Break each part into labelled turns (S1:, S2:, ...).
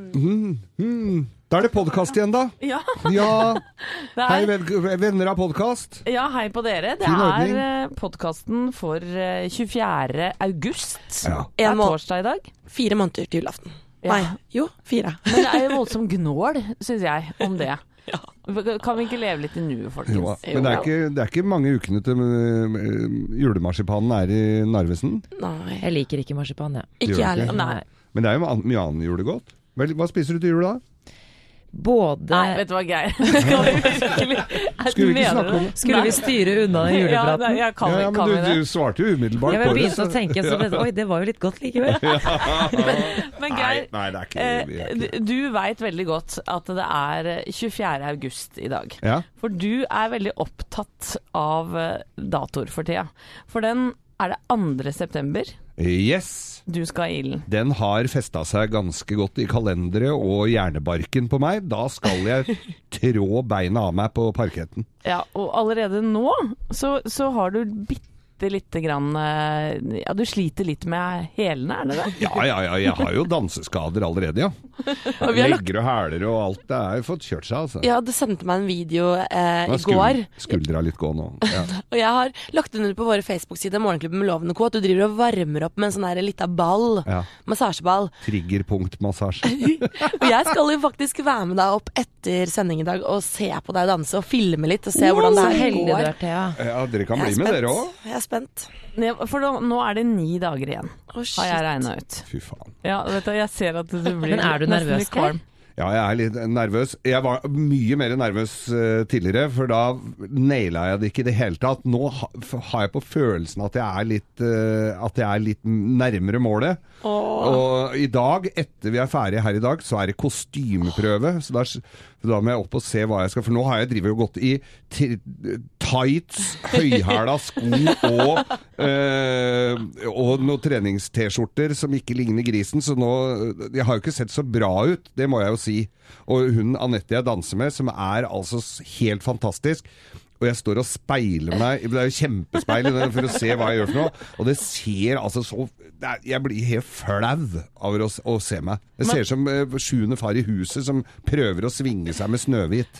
S1: Mm. Da er det podkast igjen, da.
S2: Ja,
S1: Ja,
S2: det
S1: hei,
S2: er,
S1: vel- venner av podkast.
S2: ja, hei på dere. Det
S1: Fin ordning.
S2: er podkasten for eh, 24. august.
S1: Ja.
S2: Det er
S3: En må-
S2: torsdag i dag.
S3: Fire måneder til julaften.
S2: Ja.
S3: Nei, jo, fire.
S2: Men det er jo voldsom gnål, syns jeg, om det. Kan vi ikke leve litt i nuet, folkens?
S1: Jo, men det er, ikke, det er ikke mange ukene til øh, julemarsipanen er i Narvesen.
S3: Nei,
S4: Jeg liker ikke marsipan, jeg.
S3: ikke
S1: Gjør
S3: jeg
S1: det ikke?
S3: heller.
S2: Nei.
S1: Men det er jo an- mye annet julegodt. Vel, hva spiser du til jul da?
S4: Både
S2: Nei, vet du hva, Geir. Skal vi virkelig
S1: Skulle vi ikke snakke om det?
S4: Skulle vi styre unna den
S2: Ja,
S4: julepraten?
S2: nei, jeg kan,
S1: Ja, ja,
S2: kan vi
S1: men du,
S2: det?
S1: du svarte jo umiddelbart
S4: Jeg bare
S1: på det.
S4: begynte å
S1: så-
S4: tenke, så det, oi, det var jo litt godt likevel.
S2: Men
S1: Nei,
S2: Geir,
S1: nei, det er ikke, vi er
S2: eh,
S1: ikke.
S2: du- du veit veldig godt at det er 24. august i dag.
S1: Ja.
S2: For du er veldig opptatt av eh, datoer for tida. For den er det 2. september
S1: Yes!
S2: du skal i ilden.
S1: Den har festa seg ganske godt i kalenderet og hjernebarken på meg. Da skal jeg trå beina av meg på parketten.
S2: Ja, og allerede nå så, så har du bitte lite grann eh, Ja, du sliter litt med hælene, er det det?
S1: Ja, ja, ja, jeg har jo danseskader allerede, ja.
S3: vi har lagt-
S1: Legger og hæler og alt. Det er jo fått kjørt seg, altså.
S3: Ja, du sendte meg en video eh,
S1: Nå
S3: i
S1: er
S3: går,
S1: skul- Skuldra litt gå nå. Ja.
S3: og jeg har lagt under på våre Facebook-sider Morgenklubben med Loven og Co. at du driver og varmer opp med en sånn der lita ball.
S1: Ja.
S3: Massasjeball.
S1: Triggerpunktmassasje.
S3: Og jeg skal jo faktisk være med deg opp etter sending i dag og se på deg danse og filme litt og se hvordan
S4: Så
S3: det
S2: Oh,
S3: her
S4: heldig du
S3: går.
S4: er, Thea.
S1: Ja, dere kan bli
S3: Jeg er
S1: med,
S3: spent.
S1: dere òg.
S3: Jeg er spent.
S2: Nei, For nå, nå er det ni dager igjen,
S3: Å,
S2: har jeg
S3: shit.
S2: regna ut.
S1: Fy faen.
S2: Ja, vet du, jeg ser at du blir
S4: Men er du
S2: nesten
S4: nervøs,
S2: litt kvalm.
S4: Geir?
S1: Ja, jeg er litt nervøs. Jeg var mye mer nervøs eh, tidligere, for da naila jeg det ikke i det hele tatt. Nå ha, f- har jeg på følelsen at jeg er litt, eh, at jeg er litt nærmere målet. Og i dag, etter vi er ferdige her i dag, så er det kostymeprøve. Så da, s- så da må jeg opp og se hva jeg skal For nå har jeg drevet og gått i ti- tights, høyhæla sko og, eh, og noen trenings-T-skjorter som ikke ligner grisen. Så nå Jeg har jo ikke sett så bra ut, det må jeg jo si. Og hun Anette jeg danser med, som er altså s- helt fantastisk. Og jeg står og speiler meg Det er jo kjempespeil i den for å se hva jeg gjør for noe. Og det ser altså så det er, Jeg blir helt flau over å, s- å se meg. Jeg ser som eh, sjuende far i huset som prøver å svinge seg med Snøhvit.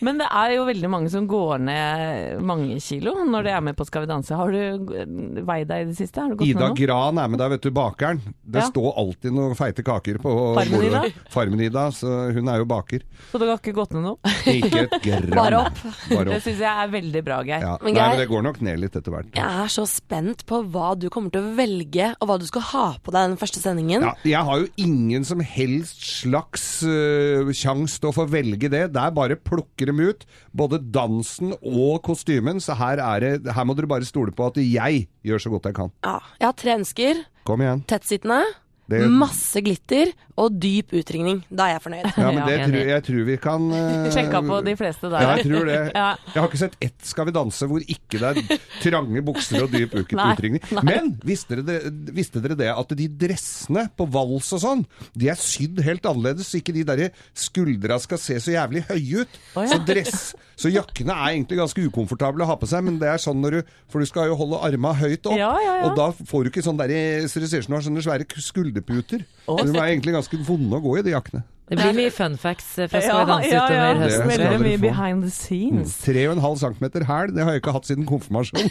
S2: Men det er jo veldig mange som går ned mange kilo når de er med på Skal vi danse. Har du eh, veid deg i det siste? Har du gått
S1: Ida
S2: ned noe?
S1: Gran er med deg, vet du, bakeren. Det
S2: Ja.
S1: står alltid noen feite kaker på
S2: Farmen
S1: bordet.
S2: Ida?
S1: Farmen Ida, så hun er jo baker.
S2: Så du har ikke gått ned noe?
S1: Ikke et gram.
S3: Bare opp.
S1: Bare
S2: Det
S1: opp.
S2: syns jeg er veldig bra, Geir.
S1: Ja.
S3: Men
S1: Nei,
S3: Geir-
S1: men det går nok ned litt etter hvert.
S3: Jeg er så spent på hva du kommer til å velge, og hva du skal ha på deg den første sendingen.
S1: Ja, jeg har jo ingen som helst slags uh, sjans til å få velge det. Der bare plukker dem ut, både dansen og kostymen. Så her, er det, her må dere bare stole på at jeg gjør så godt jeg kan.
S3: Ja, jeg har tre ønsker.
S1: Kom igjen.
S3: Tettsittende,
S1: Det-
S3: masse glitter og dyp utringning. Da er jeg fornøyd.
S1: Ja, men
S2: Ja,
S1: det
S4: enig.
S1: tror, jeg tror vi kan eh,
S2: Sjekka på de fleste der.
S1: Ja, jeg tror det.
S2: Ja.
S1: Jeg har ikke sett ett Skal vi danse hvor ikke det er trange bukser og dyp uke-
S2: Nei,
S1: utringning. Men visste dere, visste dere det at de dressene på vals og sånn, de er sydd helt annerledes, så ikke de derre skuldra skal se så jævlig høye ut.
S2: Å, ja.
S1: Så dress Så jakkene er egentlig ganske ukomfortable å ha på seg, men det er sånn når du For du skal jo holde arma høyt opp,
S2: Ja, ja, ja.
S1: og da får du ikke sånn derre Så det ser ut som du har sånne svære skulderputer.
S2: Å,
S1: Så de
S2: se.
S1: er egentlig ganske vonde å gå i, de jakkene.
S4: Det blir mye fun facts eh, fra Skal vi danse
S2: ja, ja.
S4: utover høsten.
S1: Det skal
S2: Veldig
S1: dere
S2: mye
S1: få.
S2: behind the scenes.
S1: 3,5 cm hæl, det har jeg ikke hatt siden konfirmasjon.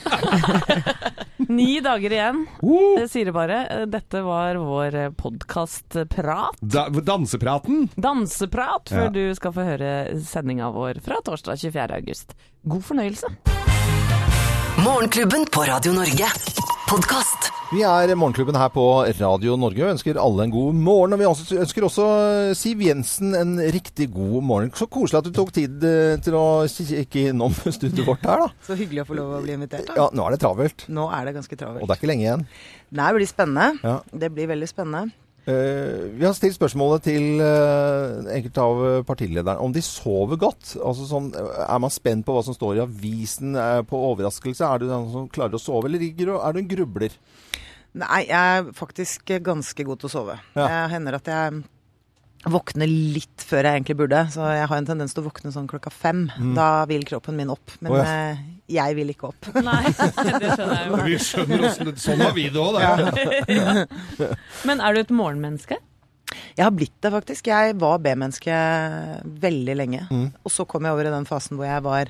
S1: Mm.
S2: Ni dager igjen,
S1: Woo!
S2: det sier det bare. Dette var vår podkastprat.
S1: Da, dansepraten?
S2: Danseprat,
S1: Ja.
S2: før du skal få høre sendinga vår fra torsdag 24. august. God fornøyelse.
S5: Morgenklubben på Radio Norge. Podkast.
S6: Vi er Morgenklubben her på Radio Norge og ønsker alle en god morgen. Og vi også- ønsker også Siv Jensen en riktig god morgen. Så koselig at du tok tid eh, til å kikke innom studioet vårt her, da.
S7: Så hyggelig å få lov å bli invitert. Da.
S6: Ja, nå er det travelt.
S7: Nå er det ganske
S6: Og
S7: travelt.
S6: det er ikke lenge igjen.
S7: Det her blir spennende.
S6: Ja.
S7: Det blir veldig spennende.
S6: Eh, Vi har stilt spørsmålet til eh, enkelte av eh, partilederne om de sover godt. Altså sånn, eh, Er man spent på hva som står i avisen eh, på overraskelse? Er du den som klarer å sove, eller ligger, du- er du en grubler?
S7: Nei, jeg er faktisk ganske god til å sove.
S6: Ja.
S7: Jeg hender at jeg våkner litt før jeg egentlig burde. Så jeg har en tendens til å våkne sånn klokka fem. Da vil kroppen min opp. Men
S6: Mm. Å, ja.
S7: eh, jeg vil ikke opp.
S2: Nei, det skjønner jeg jo.
S1: Vi skjønner åssen Sånn var vi det òg, da.
S2: Men er du et morgenmenneske?
S7: Jeg har blitt det, faktisk. Jeg var B-menneske veldig lenge.
S6: Mm.
S7: Og så kom jeg over i den fasen hvor jeg var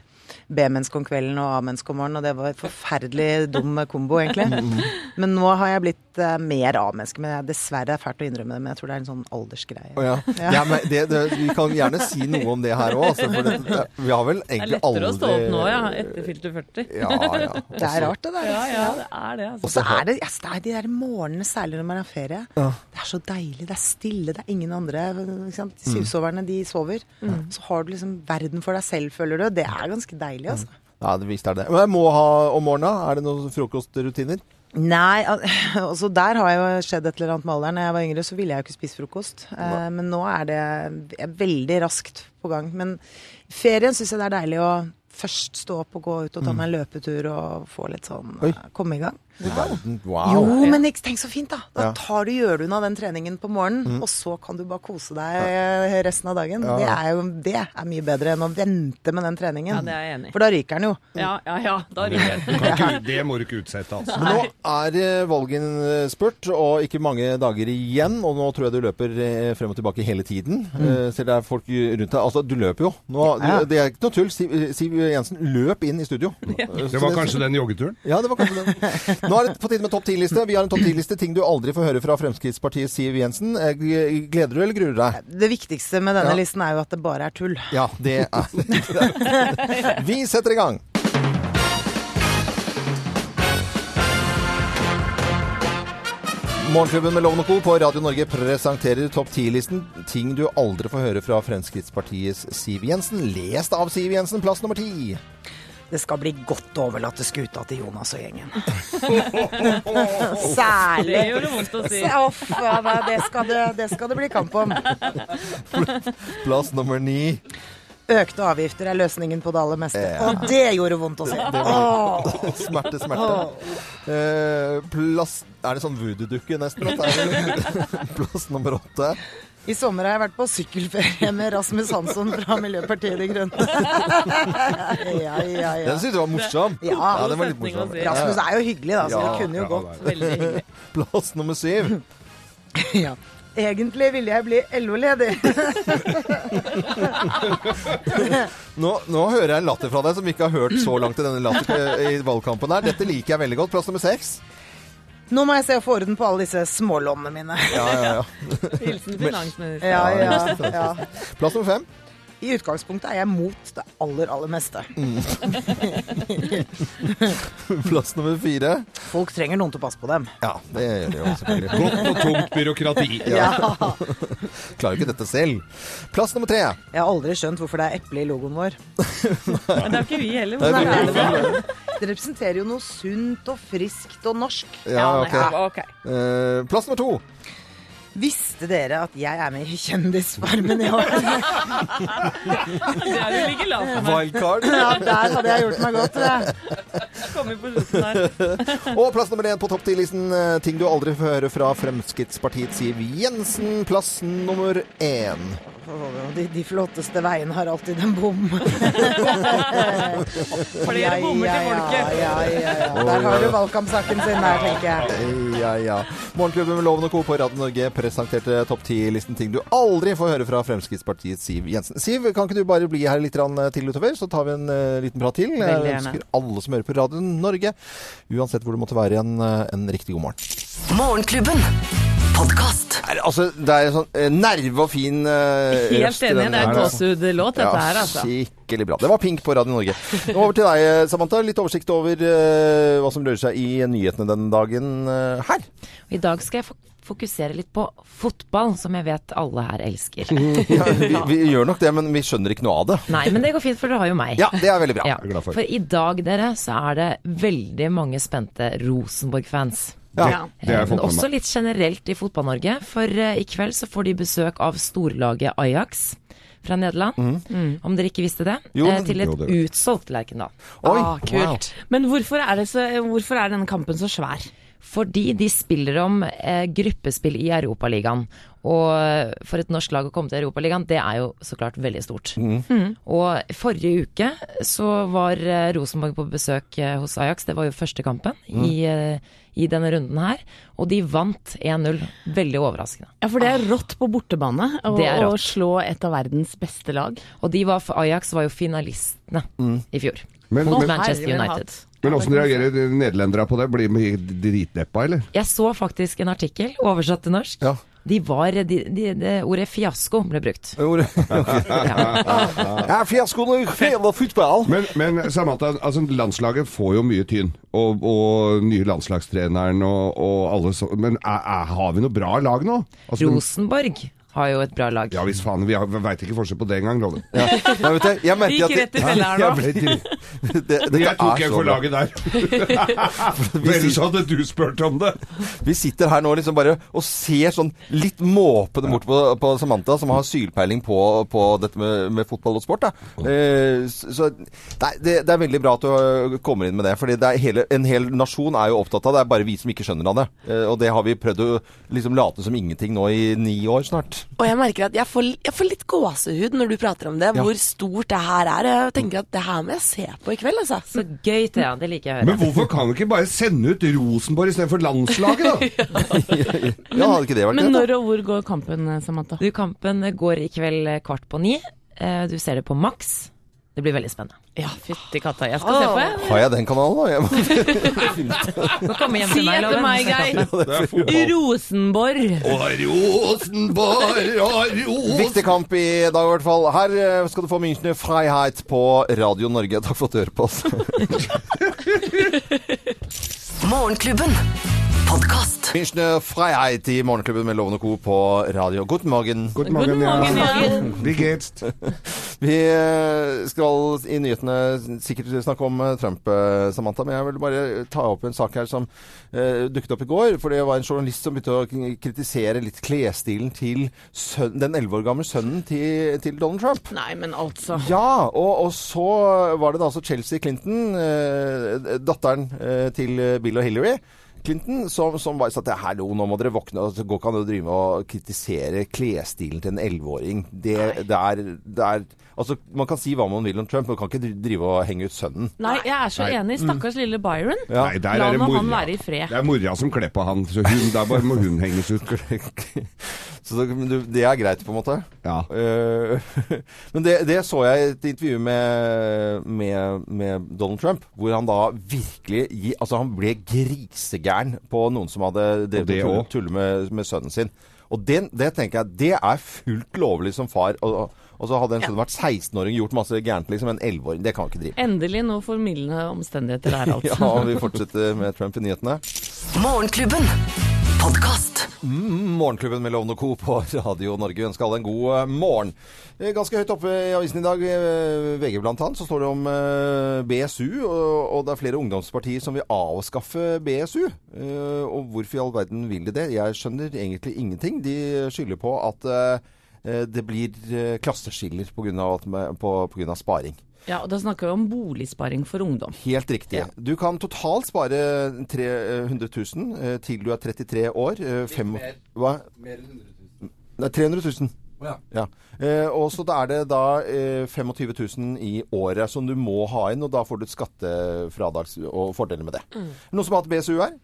S7: B-menneske om kvelden og A-menneske om morgenen, og det var en forferdelig dum kombo,
S6: Mm.
S7: egentlig. Men nå har jeg blitt eh, mer A-menneske. Men jeg, dessverre er det fælt å innrømme det, men jeg tror det er en sånn aldersgreie.
S6: Å ja. Ja, men det, det, vi kan gjerne si noe om det her òg. Altså, for det- det- vi har vel
S4: Det er
S6: egentlig aldri
S4: lettere å stå opp nå, ja. Etter fylte 40.
S6: Ja, altså. ja.
S7: Det er rart, det der.
S4: Ja, ja, det er det, altså.
S7: Og så er det, yes, det er de der morgenene, særlig når man har ferie. Det er så deilig. Det er stille, det er ingen andre. Ikke sant? De
S6: Mm.
S7: Syvsoverne, de sover.
S4: Mm.
S7: Så har du liksom verden for deg selv, føler du. Det er ganske deilig, altså.
S6: Ja, det visst er det. Men jeg må ha om morgenen. Er det noen frokostrutiner?
S7: Nei, al- altså der har jo skjedd et eller annet med alderen. Da jeg var yngre, så ville jeg jo ikke spise frokost. Eh, men nå er det jeg er veldig raskt på gang. Men i ferien syns jeg det er deilig å først stå opp og gå ut
S4: Mm.
S7: og ta meg en løpetur og få litt sånn
S6: Oi.
S7: eh, komme i gang.
S6: I verden.
S4: Ah,
S7: Jo,
S6: Wow.
S7: men ikke- tenk så fint, da. Da
S6: Ja.
S7: tar du, gjør du unna den treningen på morgenen,
S4: Mm.
S7: og så kan du bare kose deg eh, resten av dagen.
S6: Ja.
S7: Det, er jo, det er mye bedre enn å vente med den treningen.
S4: Ja, det er jeg enig i.
S7: For da ryker den jo.
S4: Ja, ja, ja. Da ryker det.
S1: Du kan ikke, det må du ikke utsette, altså.
S6: Men nå er eh, valgspurt, og ikke mange dager igjen. Og nå tror jeg du løper eh, frem og tilbake hele tiden. Eh, Ser det er folk rundt deg. Altså, du løper jo. Nå,
S7: Mm. Ja.
S6: du, det er ikke noe tull. Siv, Siv Jensen løp inn i studio. Eh,
S1: Det var kanskje den joggeturen?
S6: Ja, det var kanskje den. Nå er det på tide med topp 10-liste. Vi har en topp 10-liste ting du aldri får høre fra Fremskrittspartiet Siv Jensen. Eh, Gleder du eller gruer du deg?
S7: Det viktigste med denne
S6: Ja.
S7: listen er jo at det bare er tull.
S6: Eh, Ja, det er Vi setter i gang. Morgenklubben med Loven og Co. på Radio Norge presenterer topp 10-listen ting du aldri får høre fra Fremskrittspartiets Siv Jensen. Lest av Siv Jensen, plass nummer ti.
S7: Det skal bli godt å overlate skuta til Jonas og gjengen. Særlig.
S4: Det gjør det vondt å si.
S7: Se, å, faen, nei, det, skal det, det skal det bli kamp om.
S6: Plass nummer ni.
S7: Økte avgifter er løsningen på det aller meste.
S6: Ja.
S7: Og det gjorde vondt å se. Åh.
S6: Smerte, smerte. Eh, plass Er det sånn voodoo-dukke nesten? dette her, eller? plass nummer åtte.
S7: I sommer har jeg vært på sykkelferie med Rasmus Hansson fra Miljøpartiet De Grønne. ja, ja, ja.
S6: Den syns jeg var morsom.
S7: Ja.
S6: den var litt
S4: Setning å
S6: morsom.
S4: si.
S7: Rasmus er jo hyggelig, da, så
S6: Ja,
S7: det kunne jo gått.
S4: Veldig hyggelig.
S6: Plass nummer syv.
S7: Ja. Egentlig ville jeg bli LO-ledig.
S6: Nå, nå hører jeg en latter fra deg som vi ikke har hørt så langt i denne latter eh, i valgkampen her. Dette liker jeg veldig godt. Plass nummer seks.
S7: Nå må jeg se å få orden på alle disse smålommene mine.
S6: Ja, ja, ja.
S4: Hilsen finansminister.
S7: Ja, ja, ja.
S6: Plass nummer fem.
S7: I utgangspunktet er jeg mot det aller, aller meste.
S6: Plass nummer fire.
S7: Folk trenger noen til å passe på dem.
S6: Ja, det gjør det jo selvfølgelig.
S1: Godt og tungt byråkrati.
S7: Ja.
S6: Klarer jo ikke dette selv. Plass nummer tre.
S7: Jeg har aldri skjønt hvorfor det er eple i logoen vår.
S4: Men det er ikke vi heller.
S6: Nei,
S4: men
S6: det-
S4: det er det.
S7: Det representerer jo noe sunt og friskt og norsk.
S6: Ja,
S4: Ja,
S6: ok.
S4: nei, ok.
S6: Eh, plass nummer to.
S7: Visste dere at jeg er med i Kjendisfarmen i år?
S4: Det er du like lavt som her.
S6: Wildcard.
S7: Ja, der hadde jeg gjort meg godt. det.
S4: Kommer på slutten her.
S6: Og plass nummer én på topp ti-listen. eh, Ting du aldri får høre fra Fremskrittspartiet Siv Jensen. Plass nummer én.
S7: De, de flotteste veiene har alltid en bom.
S4: Flere bommer til folket.
S7: Ja, ja, ja, ja. Der har du valgkampsaken sin der, tenker jeg.
S6: Eh, Ja, ja. Morgenklubben med Loven og Co. på Radio Norge presenterte topp ti-listen ting du aldri får høre fra Fremskrittspartiet Siv Jensen. Siv, kan ikke du bare bli her litt grann, eh, til utover, så tar vi en eh, liten prat til? Jeg
S4: Veldig gjerne.
S6: ønsker alle som hører på Radio Norge, uansett hvor du måtte være, en, eh, en riktig god morgen.
S5: Morgenklubben. Podkast.
S6: Nei, altså, det er sånn eh, nerve og fin eh, røst
S4: Helt
S6: i
S4: enig.
S6: den
S4: Det er en
S6: her, altså.
S4: gåsehudlåt, dette her, altså.
S6: Skikkelig bra. Det var Pink på Radio Norge. Nå Over til deg, eh, Samantha. Litt oversikt over eh, hva som rører seg i nyhetene denne dagen eh, her.
S4: I dag skal jeg fok- fokusere litt på fotball, som jeg vet alle her elsker.
S6: Ja, vi, vi gjør nok det, men vi skjønner ikke noe av det.
S4: Nei, men det går fint, for dere har jo meg.
S6: Ja, det er veldig bra.
S4: Ja,
S1: glad for.
S4: for i dag, dere, så er det veldig mange spente Rosenborg-fans.
S1: Ja, det har jeg
S4: Men
S1: fått med
S4: også
S1: meg.
S4: litt generelt i Fotball-Norge, for eh, i kveld så får de besøk av storlaget Ajax fra Nederland. Om dere ikke visste det.
S6: Jo,
S4: eh,
S6: men-
S4: til et
S1: Jo, det vet
S4: utsolgt Lerkendal.
S6: Oi,
S2: Ah, kult. Men hvorfor er, det så, hvorfor er denne kampen så svær?
S4: Fordi de spiller om eh, gruppespill i Europaligaen. Og for et norsk lag å komme til Europaligaen, det er jo så klart veldig stort. Og forrige uke så var eh, Rosenborg på besøk eh, hos Ajax. Det var jo første kampen i, eh, i denne runden her. Og de vant 1-0. Veldig overraskende.
S2: Ja, for det er rått på bortebane å,
S4: Ah. Det er
S2: å
S4: rått.
S2: slå et av verdens beste lag.
S4: Og de var, Ajax var jo finalistene i fjor.
S1: Men-
S4: mot
S1: men-
S4: Manchester
S2: Herre min
S4: United.
S2: hatt.
S1: Men åssen reagerer nederlenderne på det? Blir de dritdeppa, eller?
S4: Jeg så faktisk en artikkel oversatt til norsk.
S6: Ja.
S4: De var, de, de, det ordet fiasko ble brukt.
S6: Hvor- Ja, fiaskoen er fela fotball.
S1: Men, men Samantha, altså, landslaget får jo mye tynn. Og, og nye landslagstreneren og, og alle så Men er, er, har vi noe bra lag nå? Altså,
S4: Rosenborg har jo et bra lag.
S1: Ja visst faen, vi har- vi veit ikke forskjell på det engang, Loven.
S6: Ja. Nei, vet du, jeg mente
S2: Gikk
S6: at det-
S2: rett i fella her nå.
S6: Jeg ble til- Det- dette
S1: Jeg tok
S6: er
S1: en
S6: så
S1: for
S6: bra.
S1: laget der. For Ellers hadde du spurt om det.
S6: Vi sitter her nå liksom bare og ser sånn litt måpende bort på, på Samantha, som har sylpeiling på, på dette med, med fotball og sport. Da. Eh, så nei, det, det er veldig bra at du kommer inn med det. For en hel nasjon er jo opptatt av det. Det er bare vi som ikke skjønner av det. Eh, og det har vi prøvd å liksom late som ingenting nå i ni år snart.
S3: Og jeg merker at jeg får, jeg får litt gåsehud når du prater om det, hvor stort det her er. Jeg tenker at det her må jeg se på i kveld, altså.
S4: Så gøy, Thea. Det liker jeg å høre.
S1: Men hvorfor kan vi ikke bare sende ut Rosenborg istedenfor landslaget, da?
S6: Ja, hadde ikke det vært
S2: Men
S6: greit? da?
S2: når og hvor går kampen, Samantha?
S4: Du, kampen går i kveld kvart på ni. Eh, Du ser det på Max. Det blir veldig spennende.
S2: Ja, fytti katta, jeg skal se på, jeg.
S6: Har jeg den kanalen, da? Jeg må...
S4: Kom hjem
S2: Si
S4: til meg,
S2: etter
S4: Loven.
S2: meg, Geir. Rosenborg.
S1: Og Rosenborg, og
S6: Viktig
S1: Rosenborg
S6: kamp i dag i hvert fall. Her eh, skal du få Münchner Freiheit på Radio Norge. Takk for at du hører på oss.
S5: Morgenklubben. Podkast.
S6: Münchner Freiheit i Morgenklubben med Lovende Co. på radio. God morgen.
S1: God morgen,
S2: morgen,
S1: ja.
S2: ja.
S1: Wie geht's?
S6: Vi eh, skal i nyhetene sikkert snakke om eh, Trump, eh, Samantha, men jeg vil bare ta opp en sak her som eh, dukket opp i går. For det var en journalist som begynte å k- kritisere litt klesstilen til sønn, den 11 år gamle sønnen til, til Donald Trump.
S2: Nei, men altså.
S6: Ja, og, og så var det da altså Chelsea Clinton, eh, datteren eh, til Bill og Hillary. Clinton, som, som bare sa at hallo, nå må dere våkne. og Det går ikke an å drive med å kritisere klesstilen til en elleveåring. Det, det er, det er Altså, man kan si hva man vil om Trump, men man kan ikke drive og henge ut sønnen.
S2: Nei, jeg er så enig.
S6: Mm.
S2: Stakkars lille Byron.
S1: Nei, der
S2: La
S1: er det
S2: nå han
S1: mora.
S2: være i fred.
S1: Det er mora som kler på han, så hun, der bare må hun henges ut.
S6: Så det, men du- det er greit, på en måte.
S1: Ja.
S6: Eh, men det, det så jeg i et intervju med, med, med Donald Trump, hvor han da virkelig gi, Altså, han ble grisegæren på noen som hadde
S1: Og det
S6: drevet og
S1: også.
S6: tull- tullet med, med sønnen sin. Og det, det tenker jeg, det er fullt lovlig som far. Og, og, og så hadde en sønn vært 16-åring gjort masse gærent, liksom. En 11-åring, det kan han ikke drive.
S2: Endelig noe formildende omstendigheter der,
S6: Ja,
S2: altså.
S6: vi fortsetter med Trump i nyhetene.
S5: Morgenklubben. Podkast.
S6: Morgenklubben med Lovende Co. på Radio Norge. Vi ønsker alle en god eh, morgen. Eh, Ganske høyt oppe i avisen i dag, eh, VG blant annet, så står det om eh, BSU. Og, og det er flere ungdomspartier som vil avskaffe BSU. Eh, Og hvorfor i all verden vil de det? Jeg skjønner egentlig ingenting. De skylder på at eh, det blir eh, klasseskiller pga. sparing.
S2: Ja, og Da snakker vi om boligsparing for ungdom.
S6: Helt riktig. Du kan totalt spare 300 000 eh, til du er 33 år. eh, Fem, Litt mer. Hva? Mer enn 100 000. Nei, 300 000. Ja. Eh, og så da er det da eh, 25 000 i året som du må ha inn, og da får du et skattefradrag og fordeler med det.
S4: Mm.
S6: Noen som har hatt BSU her?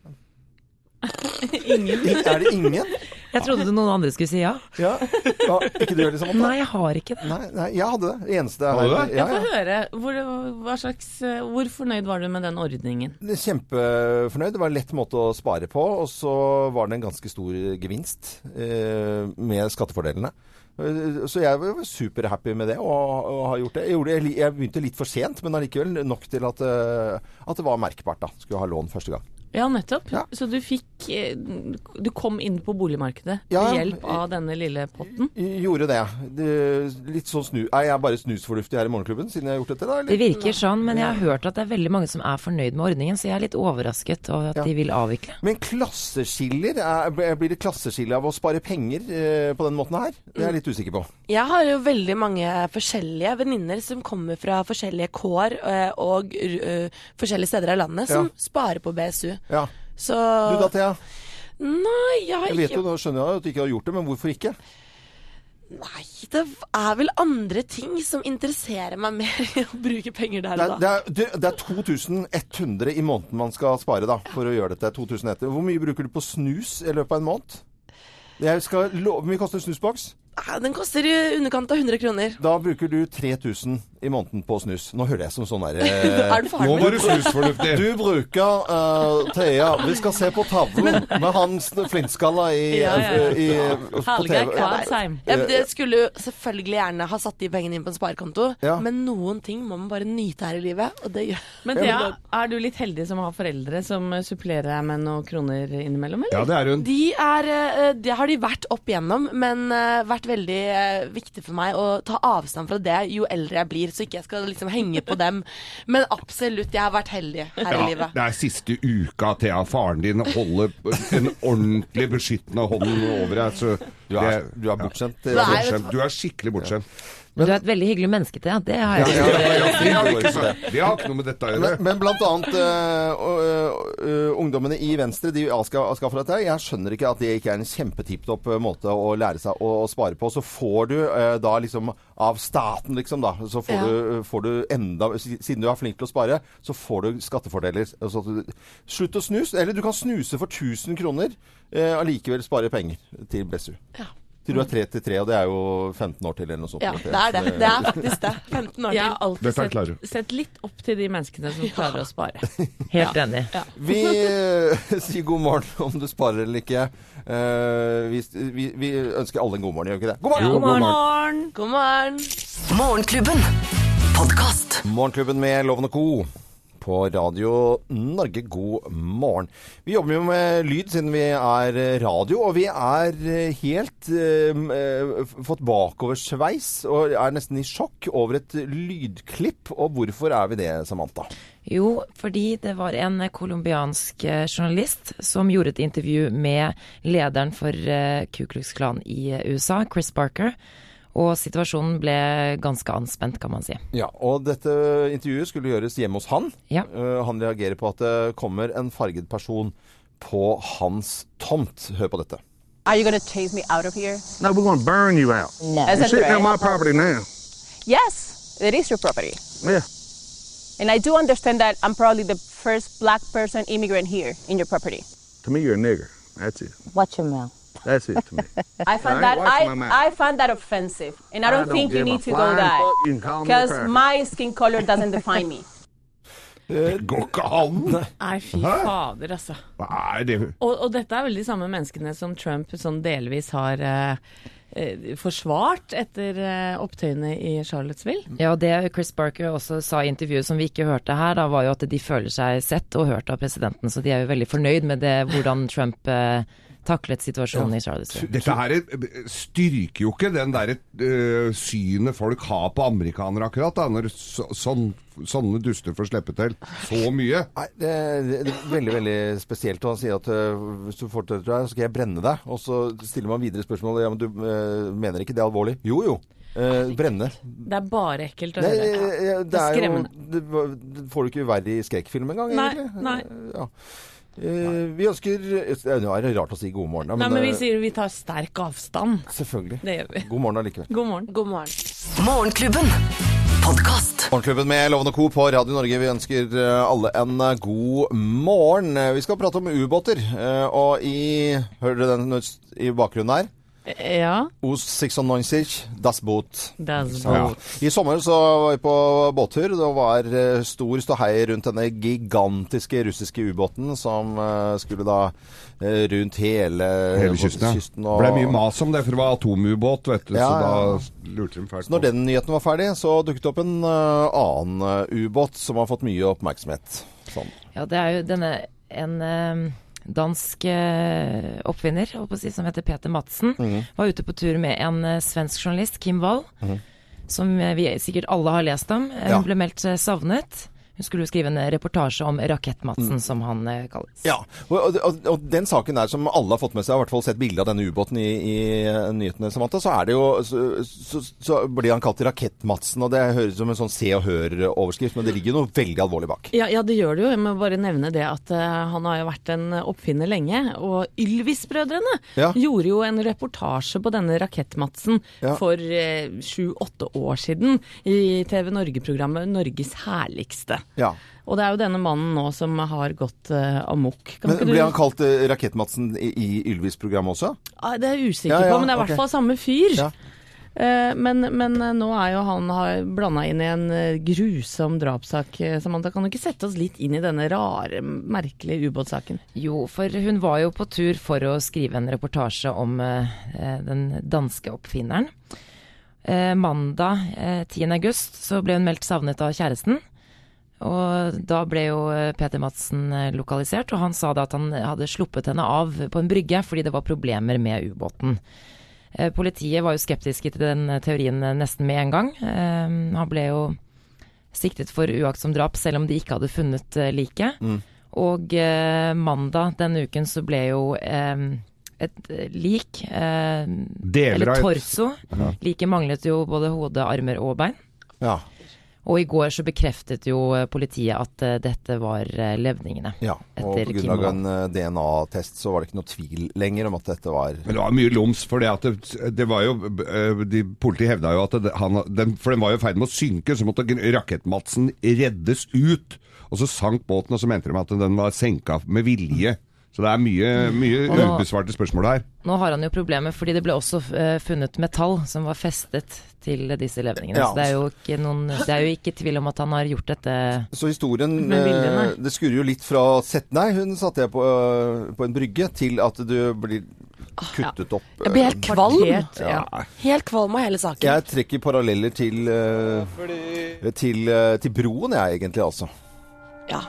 S6: ingen. Er det ingen?
S4: Jeg trodde noen andre skulle si ja.
S6: Ja. ja. Ikke du heller, Samantha?
S4: Nei, jeg har ikke det.
S6: Nei, nei, jeg hadde det. Det eneste
S1: Hadde du det?
S6: Ja,
S2: Få
S6: ja.
S2: høre, hvor, hva slags, hvor fornøyd var du med den ordningen?
S6: Kjempefornøyd. Det var en lett måte å spare på. Og så var det en ganske stor gevinst eh, med skattefordelene. Eh, Så jeg var superhappy med det og, og har gjort det. Jeg, gjorde, det- jeg begynte litt for sent, men allikevel nok til at, eh, at det var merkbart. da. Skulle ha lån første gang.
S2: Ja, nettopp.
S6: Ja.
S2: Så du fikk eh, Du kom inn på boligmarkedet
S6: Ja,
S2: ved hjelp av denne lille potten?
S6: Jeg Gjorde det. det litt sånn snu... Er jeg bare snusfornuftig her i Morgenklubben siden jeg har gjort dette? da?
S4: Det
S6: Eller?
S4: virker sånn, men jeg har hørt at det er veldig mange som er fornøyd med ordningen, så jeg er litt overrasket over at
S6: Ja.
S4: de vil avvikle.
S6: Men klasseskiller? Er, blir det klasseskille av å spare penger eh, på den måten her? Det er jeg litt usikker på.
S3: Jeg har jo veldig mange forskjellige venninner som kommer fra forskjellige kår eh, og eh, forskjellige steder av landet, som
S6: Ja.
S3: sparer på BSU.
S6: Ja.
S3: Så
S6: Du da, Thea?
S3: Nei, jeg har
S6: Jeg vet
S3: ikke
S6: jo, da skjønner jeg at du ikke har gjort det, men hvorfor ikke?
S3: Nei, det er vel andre ting som interesserer meg mer enn å bruke penger der
S6: Det
S3: og
S6: er,
S3: da.
S6: det er, du- det er 2100 i måneden man skal spare da, for å gjøre dette. 2100. Hvor mye bruker du på snus i løpet av en måned? Jeg skal love, Hvor mye koster en snusboks?
S3: Nei, Den koster i underkant av 100 kroner.
S6: Da bruker du 3000 i måneden på snus. Nå hører jeg som sånn
S3: Er
S6: derre
S3: du faren
S1: Nå
S3: min?
S1: var du snusfornuftig!
S6: Du bruker eh, Thea Vi skal se på tavlen med hans flintskalla i, eh,
S2: Ja, ja, ja.
S6: i, på
S2: Hallgeir
S6: TV.
S2: Kvalsheim.
S3: Jeg, jeg skulle jo selvfølgelig gjerne ha satt de pengene inn på en sparekonto,
S6: Ja.
S3: men noen ting må man bare nyte her i livet, og det gjør
S2: Men Thea, er du litt heldig som har foreldre som eh, supplerer deg med noen kroner innimellom,
S1: Ja,
S2: eller?
S1: det er hun.
S3: De er eh, Det har de vært opp igjennom, men eh, vært veldig eh, viktig for meg å ta avstand fra det jo eldre jeg blir, så ikke jeg skal liksom henge på dem. Men absolutt, jeg har vært heldig her i
S1: Ja,
S3: livet.
S1: det er siste uka Thea, faren din, holder en ordentlig beskyttende hånd over deg. Så
S6: Du er,
S1: det-
S6: du er bortskjemt.
S1: Du er
S6: Thea.
S1: bortskjemt. Du er skikkelig bortskjemt.
S4: Du er et veldig hyggelig menneske til, ja. Det har jeg.
S1: Ja, ja, ja, det har ikke så- det har ikke noe med dette å
S6: Men,
S1: gjøre.
S6: men blant annet eh, og, eh, eh, ungdommene i Venstre de avska- avskaffer dette. her. Jeg skjønner ikke at det ikke er en kjempetipp topp måte å lære seg å, å spare på. Så får du eh, da liksom av staten, liksom, da. Så får,
S3: Ja.
S6: du, får du enda Siden du er flink til å spare, så får du skattefordeler. Altså, at du- slutt å snuse. Eller du kan snuse for 1000 kroner. eh, Allikevel spare penger til BSU.
S3: Ja.
S6: Til du er 33, og det er jo 15 år til eller noe sånt.
S3: Ja, det er det. Det er faktisk det. 15 år
S2: Jeg har
S3: til.
S2: alltid
S1: Dette er klarer
S2: sett, sett litt opp til de menneskene som klarer å spare.
S4: Helt enig.
S6: Vi eh, sier god morgen om du sparer eller ikke. Eh, vi, vi, vi ønsker alle en god morgen, gjør vi ikke det? God morgen!
S1: Jo, god morgen.
S3: God morgen.
S5: Morgenklubben. Podkast.
S6: Morgenklubben med Loven og Co. På Radio Norge, god morgen. Vi jobber jo med lyd siden vi er eh, radio, og vi er eh, helt eh, m- eh, f- fått bakoversveis og er nesten i sjokk over et lydklipp. Og hvorfor er vi det, Samantha?
S4: Jo, fordi det var en colombiansk eh, journalist som gjorde et intervju med lederen for eh, Ku Klux Klan i eh, USA, Chris Barker. Og situasjonen ble ganske anspent, kan man si.
S6: Ja, og dette intervjuet skulle gjøres hjemme hos han.
S4: Ja.
S6: Eh, han reagerer på at det kommer en farget person på hans tomt. Hør på dette.
S8: Are you going to chase me out of here?
S9: No, we're going to burn you out.
S8: As
S9: You're
S8: a
S9: sitting
S8: threat?
S9: on my property now.
S8: yes, it is your property.
S9: Yeah.
S8: And I do understand that I'm probably the first black person immigrant here in your property.
S9: To me, you're a nigger. That's it.
S10: Watch your mouth.
S9: That's it to me.
S8: I find
S9: I ain't
S8: that
S9: washing my
S8: I,
S9: mouth.
S8: I find that offensive. And I don't, think you
S9: give a
S8: need to go
S9: flying
S8: that.
S9: fuck. You can call me a
S8: Because
S9: cracker.
S8: my skin color doesn't define me.
S1: Det går ikke an!
S2: Nei, fy fader, altså.
S1: Hva er det?
S2: Og, og dette er vel de samme menneskene som Trump sånn delvis har eh, eh, forsvart etter eh, opptøyene i Charlottesville.
S4: Ja, og det Chris Barker også sa i intervjuet som vi ikke hørte her, da var jo at de føler seg sett og hørt av presidenten, så de er jo veldig fornøyd med det, hvordan Trump eh, taklet situasjonen i Charlottesville.
S1: Dette her eh, styrker jo ikke den der eh, synet folk har på amerikanere akkurat, da, når så, sånn, sånne duster får slippe til så mye.
S6: Nei, det, det, det er veldig veldig spesielt. Og han sier at øh, hvis du fortsetter her, så skal jeg brenne deg. Og så stiller man videre spørsmål. Ja, men du øh, mener ikke det er alvorlig? Jo, jo. Eh, brenne.
S2: Det er bare ekkelt å
S6: Det,
S2: høre.
S6: eh, det
S2: Det er
S6: er jo
S2: skremmende.
S6: det, var- det får du ikke verre i skrekkfilm engang,
S2: Nei,
S6: egentlig. Eh,
S2: nei.
S6: Ja. Eh, vi ønsker eh, Nå er det rart å si god morgen, da,
S2: Nei, men vi
S6: eh,
S2: sier vi tar sterk avstand.
S6: Selvfølgelig.
S2: Det gjør vi.
S6: God morgen allikevel.
S2: God morgen.
S3: God morgen.
S5: Morgenklubben. Podkast.
S6: Morgenklubben med Lovende Co. på Radio Norge. Vi ønsker eh, alle en eh, god morgen. Eh, Vi skal prate om ubåter. eh, Og i Hører dere den nøds- i bakgrunnen her?
S2: Ja,
S6: O96, Das Boot.
S2: das
S6: Ja.
S2: boat.
S6: I sommer så var vi på båttur. Det var eh, stor ståhei rundt denne gigantiske russiske ubåten som eh, skulle da eh, rundt hele,
S1: Hele kysten, ja.
S6: Eh, kysten og-
S1: Det ble mye mas om det, for det var atomubåt, vet du,
S6: Ja,
S1: så
S6: ja, ja.
S1: da lurte de fælt
S6: Så når den nyheten var ferdig, så dukket det opp en eh, annen eh, ubåt som har fått mye oppmerksomhet. Sånn.
S4: Ja, det er jo denne en eh, dansk eh, oppfinner holdt på å si, som heter Peter Madsen. Var ute på tur med en eh, svensk journalist, Kim Wall, som eh, vi sikkert alle har lest om. Eh,
S6: Ja.
S4: Hun ble meldt eh, savnet. Hun skulle jo skrive en reportasje om Rakett-Madsen, som han eh, kalles.
S6: Ja, og, og, og, og den saken der som alle har fått med seg, har i hvert fall sett bilde av denne ubåten i, i eh, nyhetene, Samantha, så, er det jo, så, så, så blir han kalt Rakett-Madsen, og det høres ut som en sånn Se og Hør-overskrift, men det ligger jo noe veldig alvorlig bak.
S2: Ja, ja, det gjør det jo. Jeg må bare nevne det at eh, han har jo vært en oppfinner lenge. Og Ylvis-brødrene
S6: Ja.
S2: gjorde jo en reportasje på denne Rakett-Madsen
S6: Ja.
S2: for eh, sju-åtte år siden i TV Norge-programmet 'Norges herligste'.
S6: Ja.
S2: Og det er jo denne mannen nå som har gått eh, amok. Kan
S6: Men
S2: ikke du-
S6: ble han kalt eh, Rakett-Madsen i, i Ylvis-programmet også?
S2: Ah, Det er jeg usikker
S6: Ja, ja,
S2: på, men det er i
S6: ok.
S2: hvert fall samme fyr.
S6: Ja.
S2: Eh, Men, men eh, nå er jo han blanda inn i en eh, grusom drapssak. eh, Samantha, kan du ikke sette oss litt inn i denne rare, merkelige ubåtsaken?
S4: Jo, for hun var jo på tur for å skrive en reportasje om eh, eh, den danske oppfinneren. Eh, mandag eh, 10. august så ble hun meldt savnet av kjæresten. Og da ble jo eh, Peter Madsen eh, lokalisert, og han sa da at han hadde sluppet henne av på en brygge fordi det var problemer med ubåten. Eh, Politiet var jo skeptiske til den teorien eh, nesten med en gang. Eh, Han ble jo siktet for uaktsom drap, selv om de ikke hadde funnet eh, liket. Og eh, mandag denne uken så ble jo eh, et eh, lik, eh,
S1: Deler
S4: eller
S1: av et
S4: torso, liket manglet jo både hode, armer og bein.
S6: Ja.
S4: Og i går så bekreftet jo eh, politiet at eh, dette var eh, levningene.
S6: ja. Og
S4: Etter
S6: pga.
S4: Kim Wall.
S6: en eh, DNA-test så var det ikke noe tvil lenger om at dette var
S1: Men det var mye loms, for det, at det, det var jo eh, de, Politiet hevda jo at det, han, den, For den var jo i ferd med å synke, så måtte Rakett-Madsen reddes ut. Og så sank båten, og så mente de at den var senka med vilje. Så det er mye, mye
S4: Og-
S1: ubesvarte spørsmål her.
S4: Nå har han jo problemer, fordi det ble også eh, funnet metall som var festet til disse levningene.
S6: Ja.
S4: Så det er, jo ikke noen, det er jo ikke tvil om at han har gjort dette
S6: Så historien
S2: Med viljene.
S6: eh, Det skurrer jo litt fra sett Nei, hun satte jeg på, eh, på en brygge, til at du blir kuttet opp.
S3: Jeg blir helt kvalm.
S2: Partert, ja.
S3: Helt kvalm av hele saken.
S6: Jeg trekker paralleller til eh, til, eh, til broen, jeg, egentlig, altså.
S3: Ja.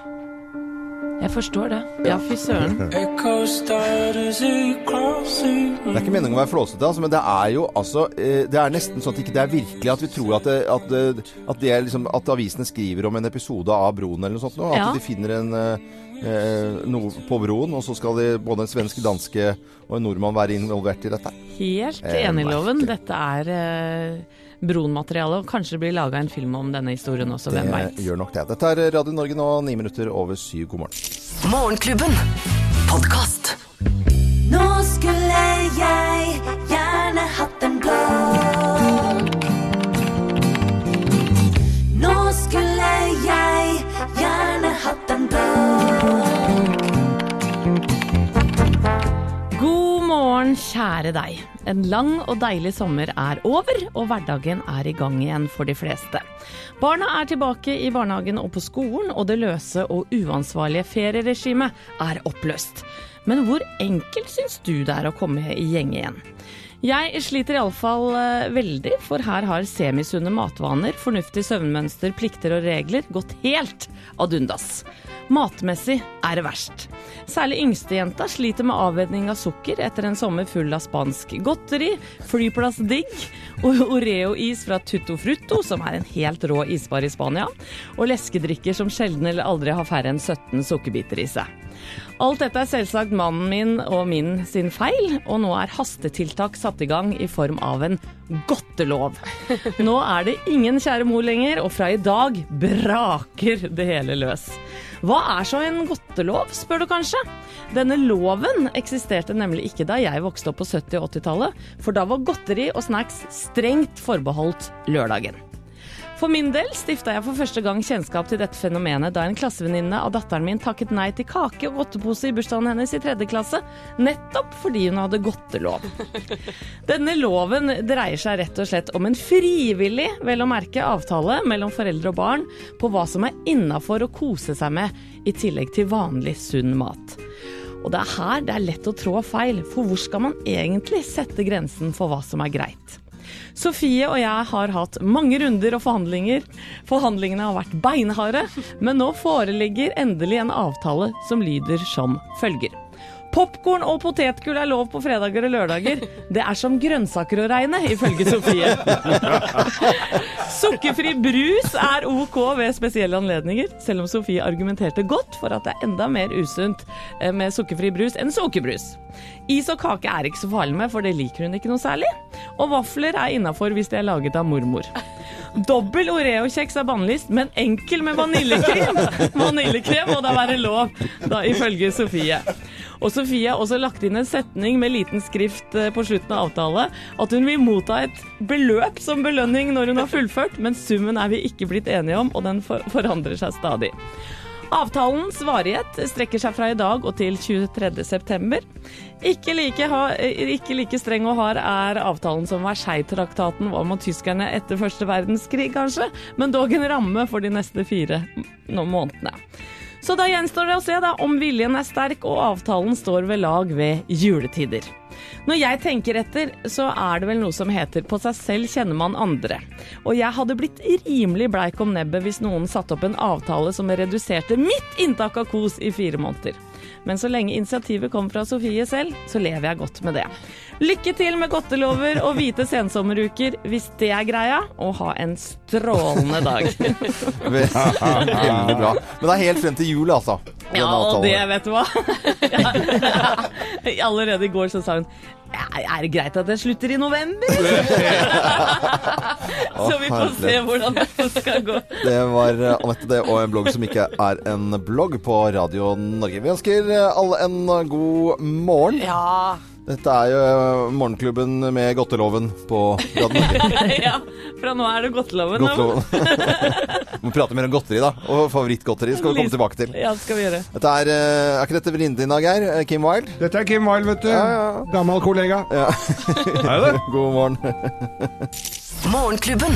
S4: Jeg forstår det.
S2: Ja, fy søren.
S6: Det er ikke meningen å være flåsete, altså, men det er jo altså eh, Det er nesten sånn at ikke det er virkelig at vi tror at, det, at, det, at, det er liksom, at avisene skriver om en episode av Broen eller noe sånt. nå, At
S2: Ja.
S6: de finner en eh, eh, noe på broen, og så skal det både en svensk, danske og en nordmann være involvert i dette.
S2: Helt
S6: Eh,
S2: enig, Loven.
S6: merkelig.
S2: Dette er eh, Broen-materiale, og kanskje det blir laga en film om denne historien også, hvem veit.
S6: Det Eh, gjør nok det. Dette er eh, Radio Norge nå, ni minutter over syv. God morgen.
S5: Morgenklubben. Podkast. Nå skulle jeg gjerne hatt en blå. Nå skulle jeg gjerne hatt en blå.
S2: God morgen, kjære deg. En lang og deilig sommer er over, og hverdagen er i gang igjen for de fleste. Barna er tilbake i barnehagen og på skolen, og det løse og uansvarlige ferieregimet er oppløst. Men hvor enkelt syns du det er å komme i gjeng igjen? Jeg sliter iallfall eh, veldig, for her har semisunne matvaner, fornuftig søvnmønster, plikter og regler gått helt ad undas. Matmessig er det verst. Særlig yngstejenta sliter med avvenning av sukker etter en sommer full av spansk godteri, flyplassdigg og Oreo-is fra Tutto Frutto, som er en helt rå isbar i Spania, og leskedrikker som sjelden eller aldri har færre enn 17 sukkerbiter i seg. Alt dette er selvsagt mannen min og min sin feil, og nå er hastetiltak satt i gang i form av en godtelov. Nå er det ingen kjære mor lenger, og fra i dag braker det hele løs. Hva er så en godtelov, spør du kanskje? Denne loven eksisterte nemlig ikke da jeg vokste opp på 70- og 80-tallet, for da var godteri og snacks strengt forbeholdt lørdagen. For min del stifta jeg for første gang kjennskap til dette fenomenet da en klassevenninne av datteren min takket nei til kake og godtepose i bursdagen hennes i tredje klasse, nettopp fordi hun hadde godtelov. Denne loven dreier seg rett og slett om en frivillig, vel å merke, avtale mellom foreldre og barn på hva som er innafor å kose seg med, i tillegg til vanlig sunn mat. Og det er her det er lett å trå feil, for hvor skal man egentlig sette grensen for hva som er greit? Sofie og jeg har hatt mange runder og forhandlinger. Forhandlingene har vært beinharde, men nå foreligger endelig en avtale som lyder som følger. Popkorn og potetgull er lov på fredager og lørdager. Det er som grønnsaker å regne, ifølge Sofie. Sukkerfri brus er ok ved spesielle anledninger, selv om Sofie argumenterte godt for at det er enda mer usunt eh, med sukkerfri brus enn sukkerbrus. Is og kake er ikke så farlig med, for det liker hun ikke noe særlig. Og vafler er innafor hvis de er laget av mormor. Dobbel Oreo-kjeks er bannlyst, men enkel med vaniljekrem. Vaniljekrem må da være lov, da, ifølge Sofie. Og Sofie har også lagt inn en setning med liten skrift eh, på slutten av avtale at hun vil motta et beløp som belønning når hun har fullført, men summen er vi ikke blitt enige om, og den for forandrer seg stadig. Avtalens varighet strekker seg fra i dag og til 23.9. Ikke, like ha- eh, ikke like streng og hard er avtalen som Versailles-traktaten var mot tyskerne etter første verdenskrig, kanskje, men dog en ramme for de neste fire nå månedene. Så da gjenstår det å se da, om viljen er sterk og avtalen står ved lag ved juletider. Når jeg tenker etter, så er det vel noe som heter 'på seg selv kjenner man andre'. Og jeg hadde blitt rimelig bleik om nebbet hvis noen satte opp en avtale som reduserte mitt inntak av kos i fire måneder. Men så lenge initiativet kom fra Sofie selv, så lever jeg godt med det. Lykke til med godtelover og hvite sensommeruker, hvis det er greia, og ha en strålende dag.
S6: Veldig bra. Men det er helt frem til jul, altså. den
S2: Ja, og
S6: avtalen.
S2: det vet du hva. Ja. Allerede i går så sa hun «Ja, Er det greit at jeg slutter i november? så vi får se
S6: herlighet.
S2: hvordan det skal gå.
S6: Det var eh, Anette det, og en blogg som ikke er en blogg på Radio Norge. Vi ønsker eh, alle en god morgen.
S3: Ja.
S6: Dette er jo eh, morgenklubben med godteloven på Radio Norge.
S2: ja, fra nå er det godteloven. da.
S6: Godteloven. Vi må prate mer om godteri, da. Og favorittgodteri skal vi komme tilbake til.
S2: Ja, det skal vi gjøre.
S6: Dette er, eh, er ikke dette venninnen din, da, Geir? Eh, Kim Wilde?
S1: Dette er Kim Wilde, vet du.
S6: Ja, ja.
S1: Gammel kollega.
S6: Ja.
S1: Er det det?
S6: God morgen.
S5: Morgenklubben.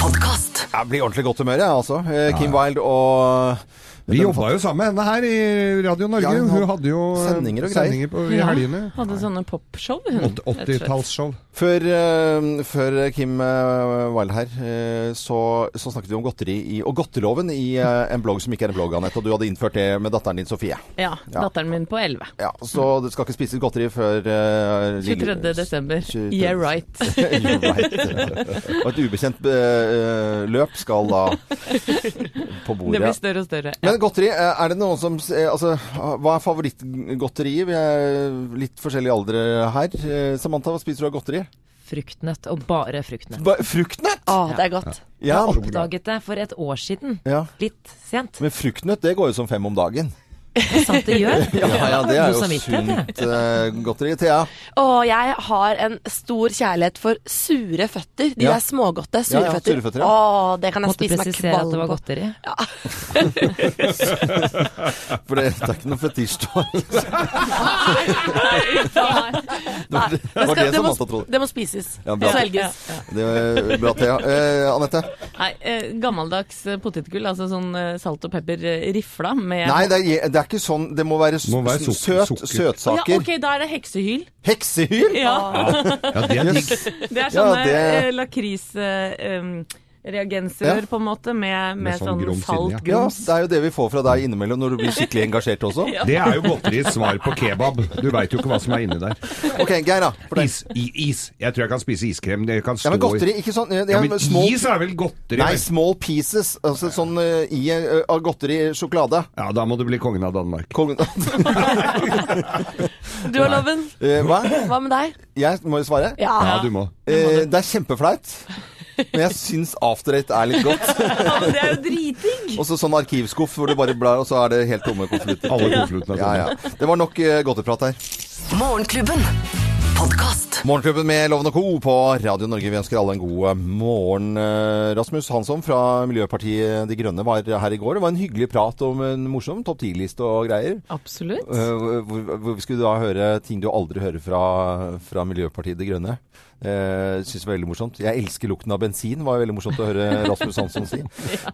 S5: Podkast.
S6: Jeg blir ordentlig godt humør, jeg, altså. Eh, Kim Wilde og
S1: Vi jobba jo sammen med henne her i Radio Norge.
S6: Ja, hun
S1: hun
S6: hadde
S1: hadde jo eh,
S6: sendinger og greier. Mm.
S1: sendinger på, i
S2: Ja.
S1: helgene.
S2: Hadde sånne popshow, hun.
S1: Åt-
S2: rett og slett.
S1: 80-tallsshow.
S6: Før, eh, før Kim eh, Wilde her, eh, så, så snakket vi om godteri i, og godteloven i eh, en blogg som ikke er en blogg, Anette. Og du hadde innført det med datteren din, Sofie.
S2: Ja,
S6: Ja.
S2: datteren min på 11.
S6: Ja, så du skal ikke spise godteri før eh, lille-
S2: 23. desember.
S6: 23.
S2: Yeah right.
S6: You're right. Og et ubekjent eh, løp skal da på
S2: Det
S6: bordet.
S2: blir større og større.
S6: Men godteri, eh, er det noen som s- eh, Altså, hva er favorittgodteriet? Vi er litt forskjellige aldre her. Eh, Samantha, hva spiser du av godteri?
S4: Fruktnøtt, og bare fruktnøtt.
S6: Ba- Fruktnøtt?
S3: Å, det er godt.
S6: Ja.
S4: Oppdaget det for et år siden.
S6: ja.
S4: Litt sent.
S6: Men fruktnøtt, det går jo som fem om dagen.
S4: Det er sant det gjør.
S6: Ja, ja, det er
S4: God
S6: jo
S4: samvittighet, det.
S6: sunt eh, godteri. Thea?
S3: Og jeg har en stor kjærlighet for sure føtter. De
S6: Ja.
S3: der smågodte
S6: Ja, ja,
S3: sure føtter.
S6: sure føtter, ja.
S3: Å, det kan jeg
S4: Måtte
S3: spise meg
S4: presisere at det
S3: kvalm
S4: var
S3: på.
S4: godteri.
S6: For det, det er ikke noe fetisj. Thea. Det var
S3: Det,
S6: det, det, var det
S3: skal, det, må,
S6: Samantha trodde.
S3: det må spises.
S6: Ja, bra.
S3: Svelges.
S6: Det var bra, Thea. Eh, Anette?
S2: Nei, eh, gammeldags eh, potetgull, altså sånn eh, salt og pepper eh, rifla med
S6: Nei, det er, det er ikke sånn. Det må være, s-
S1: Må være suk-
S6: søt,
S1: sukker.
S2: ja,
S6: søtsaker.
S2: OK, da er det heksehyl. Ah.
S6: Heksehyl!
S2: Ja.
S1: Ja, det er digg.
S6: Yes.
S2: Det er
S6: Ja,
S2: sånne
S6: det-
S2: eh, lakrisreagenser,
S6: Ja.
S2: på en måte, med, med,
S1: Med sånn
S2: sånn,
S1: grums inni, ja.
S2: salt
S6: Ja,
S2: grums.
S6: det er jo det vi får fra deg innimellom når du blir skikkelig engasjert også.
S1: Det er jo godteriets svar på kebab. Du veit jo ikke hva som er inni der.
S6: Ok, Geir, da. For deg.
S1: Is, i, is. Jeg tror jeg kan spise iskrem. Det kan stå
S6: Ja, men
S1: i-
S6: godteri, ikke sånn det er
S1: Ja, men
S6: small,
S1: is er vel godteri?
S6: Nei,
S1: vel?
S6: small pieces. Altså sånn eh, i, eh, av godteri, sjokolade.
S1: Ja, da må du bli kongen av Danmark.
S6: Kongen
S3: Du og Loven,
S6: Eh, Hva?
S3: hva med deg?
S6: Jeg må jo svare.
S3: Ja.
S1: Ja, du må.
S6: Eh, det er kjempeflaut. Men jeg syns after eight er litt godt.
S2: Ja, men det er jo dritdigg!
S6: Og så sånn arkivskuff hvor du bare blar, og så er det helt tomme konvolutter.
S1: Alle konvoluttene er sånn.
S6: Ja, ja. Det var nok eh, godteprat her.
S5: Morgenklubben. Podkast.
S6: Morgenklubben med Loven og Co. på Radio Norge. Vi ønsker alle en god morgen. Eh, Rasmus Hansson fra Miljøpartiet De Grønne var her i går. Det var en hyggelig prat om en morsom topp 10-liste og greier.
S2: Absolutt.
S6: Eh, Hvor, hvor vi skulle da høre ting du aldri hører fra, fra Miljøpartiet De Grønne. Uh, synes det var veldig morsomt. Jeg elsker lukten av bensin, var veldig morsomt å høre Rasmus Hansson si.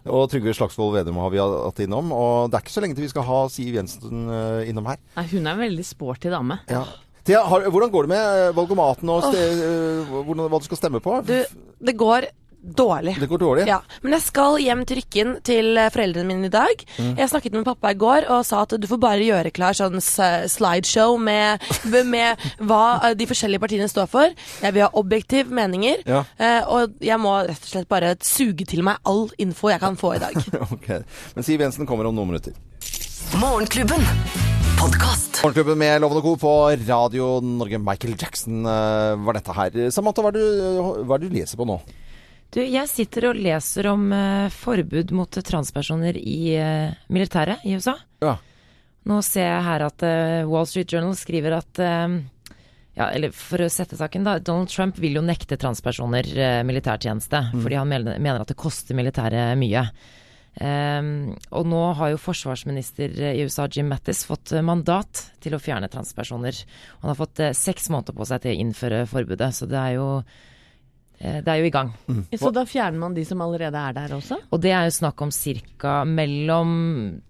S6: Og Trygve Slagsvold Vedum har vi hatt innom. Og det er ikke så lenge til vi skal ha Siv Jensen eh, innom her.
S2: Nei, hun er en veldig sporty dame.
S6: Ja. Thea, har, hvordan går det med eh, valgomaten og ste, eh, hvordan, hva du skal stemme på?
S3: Du, det går dårlig.
S6: Det går dårlig?
S3: Ja, Men jeg skal hjem til Rykken til eh, foreldrene mine i dag.
S6: Mm.
S3: Jeg snakket med pappa i går og sa at du får bare gjøre klar sånn s- slideshow med, med hva eh, de forskjellige partiene står for. Jeg vil ha objektive meninger.
S6: Ja.
S3: eh, Og jeg må rett og slett bare suge til meg all info jeg kan få i dag.
S6: Ok. Men Siv Jensen kommer om noen minutter.
S5: Morgenklubben. Podkast.
S6: Morgenklubben med Loven og Co. på Radio Norge. Michael Jackson eh, var dette her. Samantha, hva er, det, hva er det du leser på nå?
S4: Du, jeg sitter og leser om eh, forbud mot transpersoner i eh, militæret i USA.
S6: Ja.
S4: Nå ser jeg her at eh, Wall Street Journal skriver at eh, ja, eller For å sette saken, da. Donald Trump vil jo nekte transpersoner eh, militærtjeneste. Fordi han mener, mener at det koster militæret mye. Ehm, og nå har jo forsvarsminister eh, i USA Jim Mattis fått eh, mandat til å fjerne transpersoner. Han har fått eh, seks måneder på seg til å innføre forbudet, så det er jo, eh, det er jo i gang.
S2: Så da fjerner man de som allerede er der også?
S4: Og det er jo snakk om ca. mellom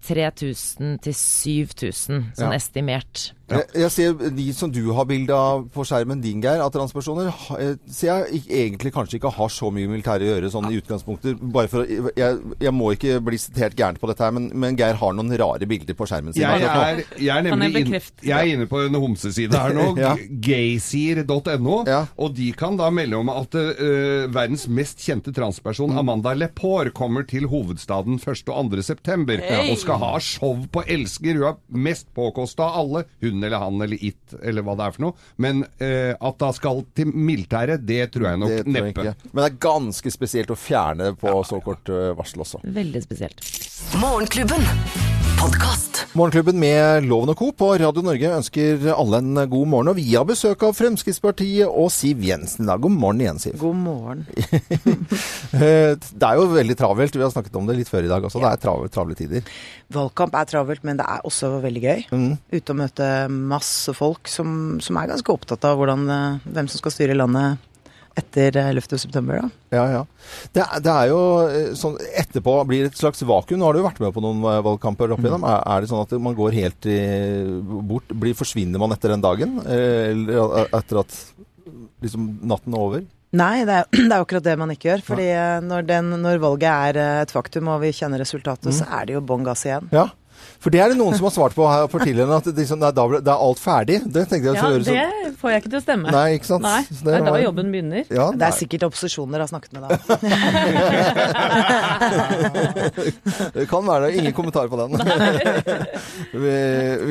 S4: 3000 til 7000, sånn
S6: Ja.
S4: estimert.
S6: Jeg, jeg ser de som du har bilde av på skjermen din, Geir, av transpersoner, ha- eh, ser jeg ik- egentlig kanskje ikke har så mye militære å gjøre sånn i utgangspunktet. Bare for, å- jeg, jeg må ikke bli sitert gærent på dette her, men, men Geir har noen rare bilder på skjermen sin.
S1: Jeg
S6: akkurat nå.
S1: er, jeg er nemlig
S2: Han er
S1: inn,
S2: bekreftet.
S1: jeg er inne på en homseside her nå,
S6: Ja.
S1: gaysier.no,
S6: Ja.
S1: og de kan da melde om at eh, verdens mest kjente transperson, Amanda Lepore, kommer til hovedstaden 1. og 2. september og skal ha show på Elsker. Hun er mest påkosta av alle, hun eller han eller it, eller hva det er for noe. Men eh, at da skal til militæret, det tror jeg nok
S6: Altså, Det tror jeg
S1: neppe.
S6: ikke. Men det er ganske spesielt å fjerne på så kort eh, varsel også.
S4: Veldig spesielt.
S5: Morgenklubben. Podkast.
S6: Morgenklubben med Loven og Co. på Radio Norge ønsker alle en god morgen. Og vi har besøk av Fremskrittspartiet og Siv Jensen. Da. God morgen igjen, Siv.
S7: God morgen.
S6: Eh, Det er jo veldig travelt. Vi har snakket om det litt før i dag også. Det er travel, travle tider.
S7: Valgkamp er travelt, men det er også veldig gøy.
S6: Mm.
S7: Ute og møte masse folk som, som er ganske opptatt av hvordan, eh, hvem som skal styre landet etter eh, 11. september. Da.
S6: Ja, ja. Det, er- det er jo eh, sånn Etterpå blir det et slags vakuum. Nå har du jo vært med på noen eh, valgkamper opp igjennom. Er, er det sånn at man går helt i, bort? Blir, forsvinner man etter den dagen? Eh, Eller eh, etter at liksom natten er over?
S7: Nei, det er, det er jo akkurat det man ikke gjør. fordi eh, når, den, når valget er eh, et faktum og vi kjenner resultatet, så
S6: Mm.
S7: er det jo bånn gass igjen.
S6: Ja. For det er det noen som har svart på her for tidligere, at liksom, nei, da ble, det er alt ferdig. Det tenkte jeg
S2: Ja,
S6: så høres ut-
S2: det får jeg ikke til å stemme.
S6: Nei, ikke sant?
S2: Nei,
S6: Så
S2: det er da
S6: var-
S2: jobben begynner.
S6: Ja,
S7: Det er sikkert opposisjoner har snakket med deg.
S6: det kan være det. Ingen kommentar på den. vi,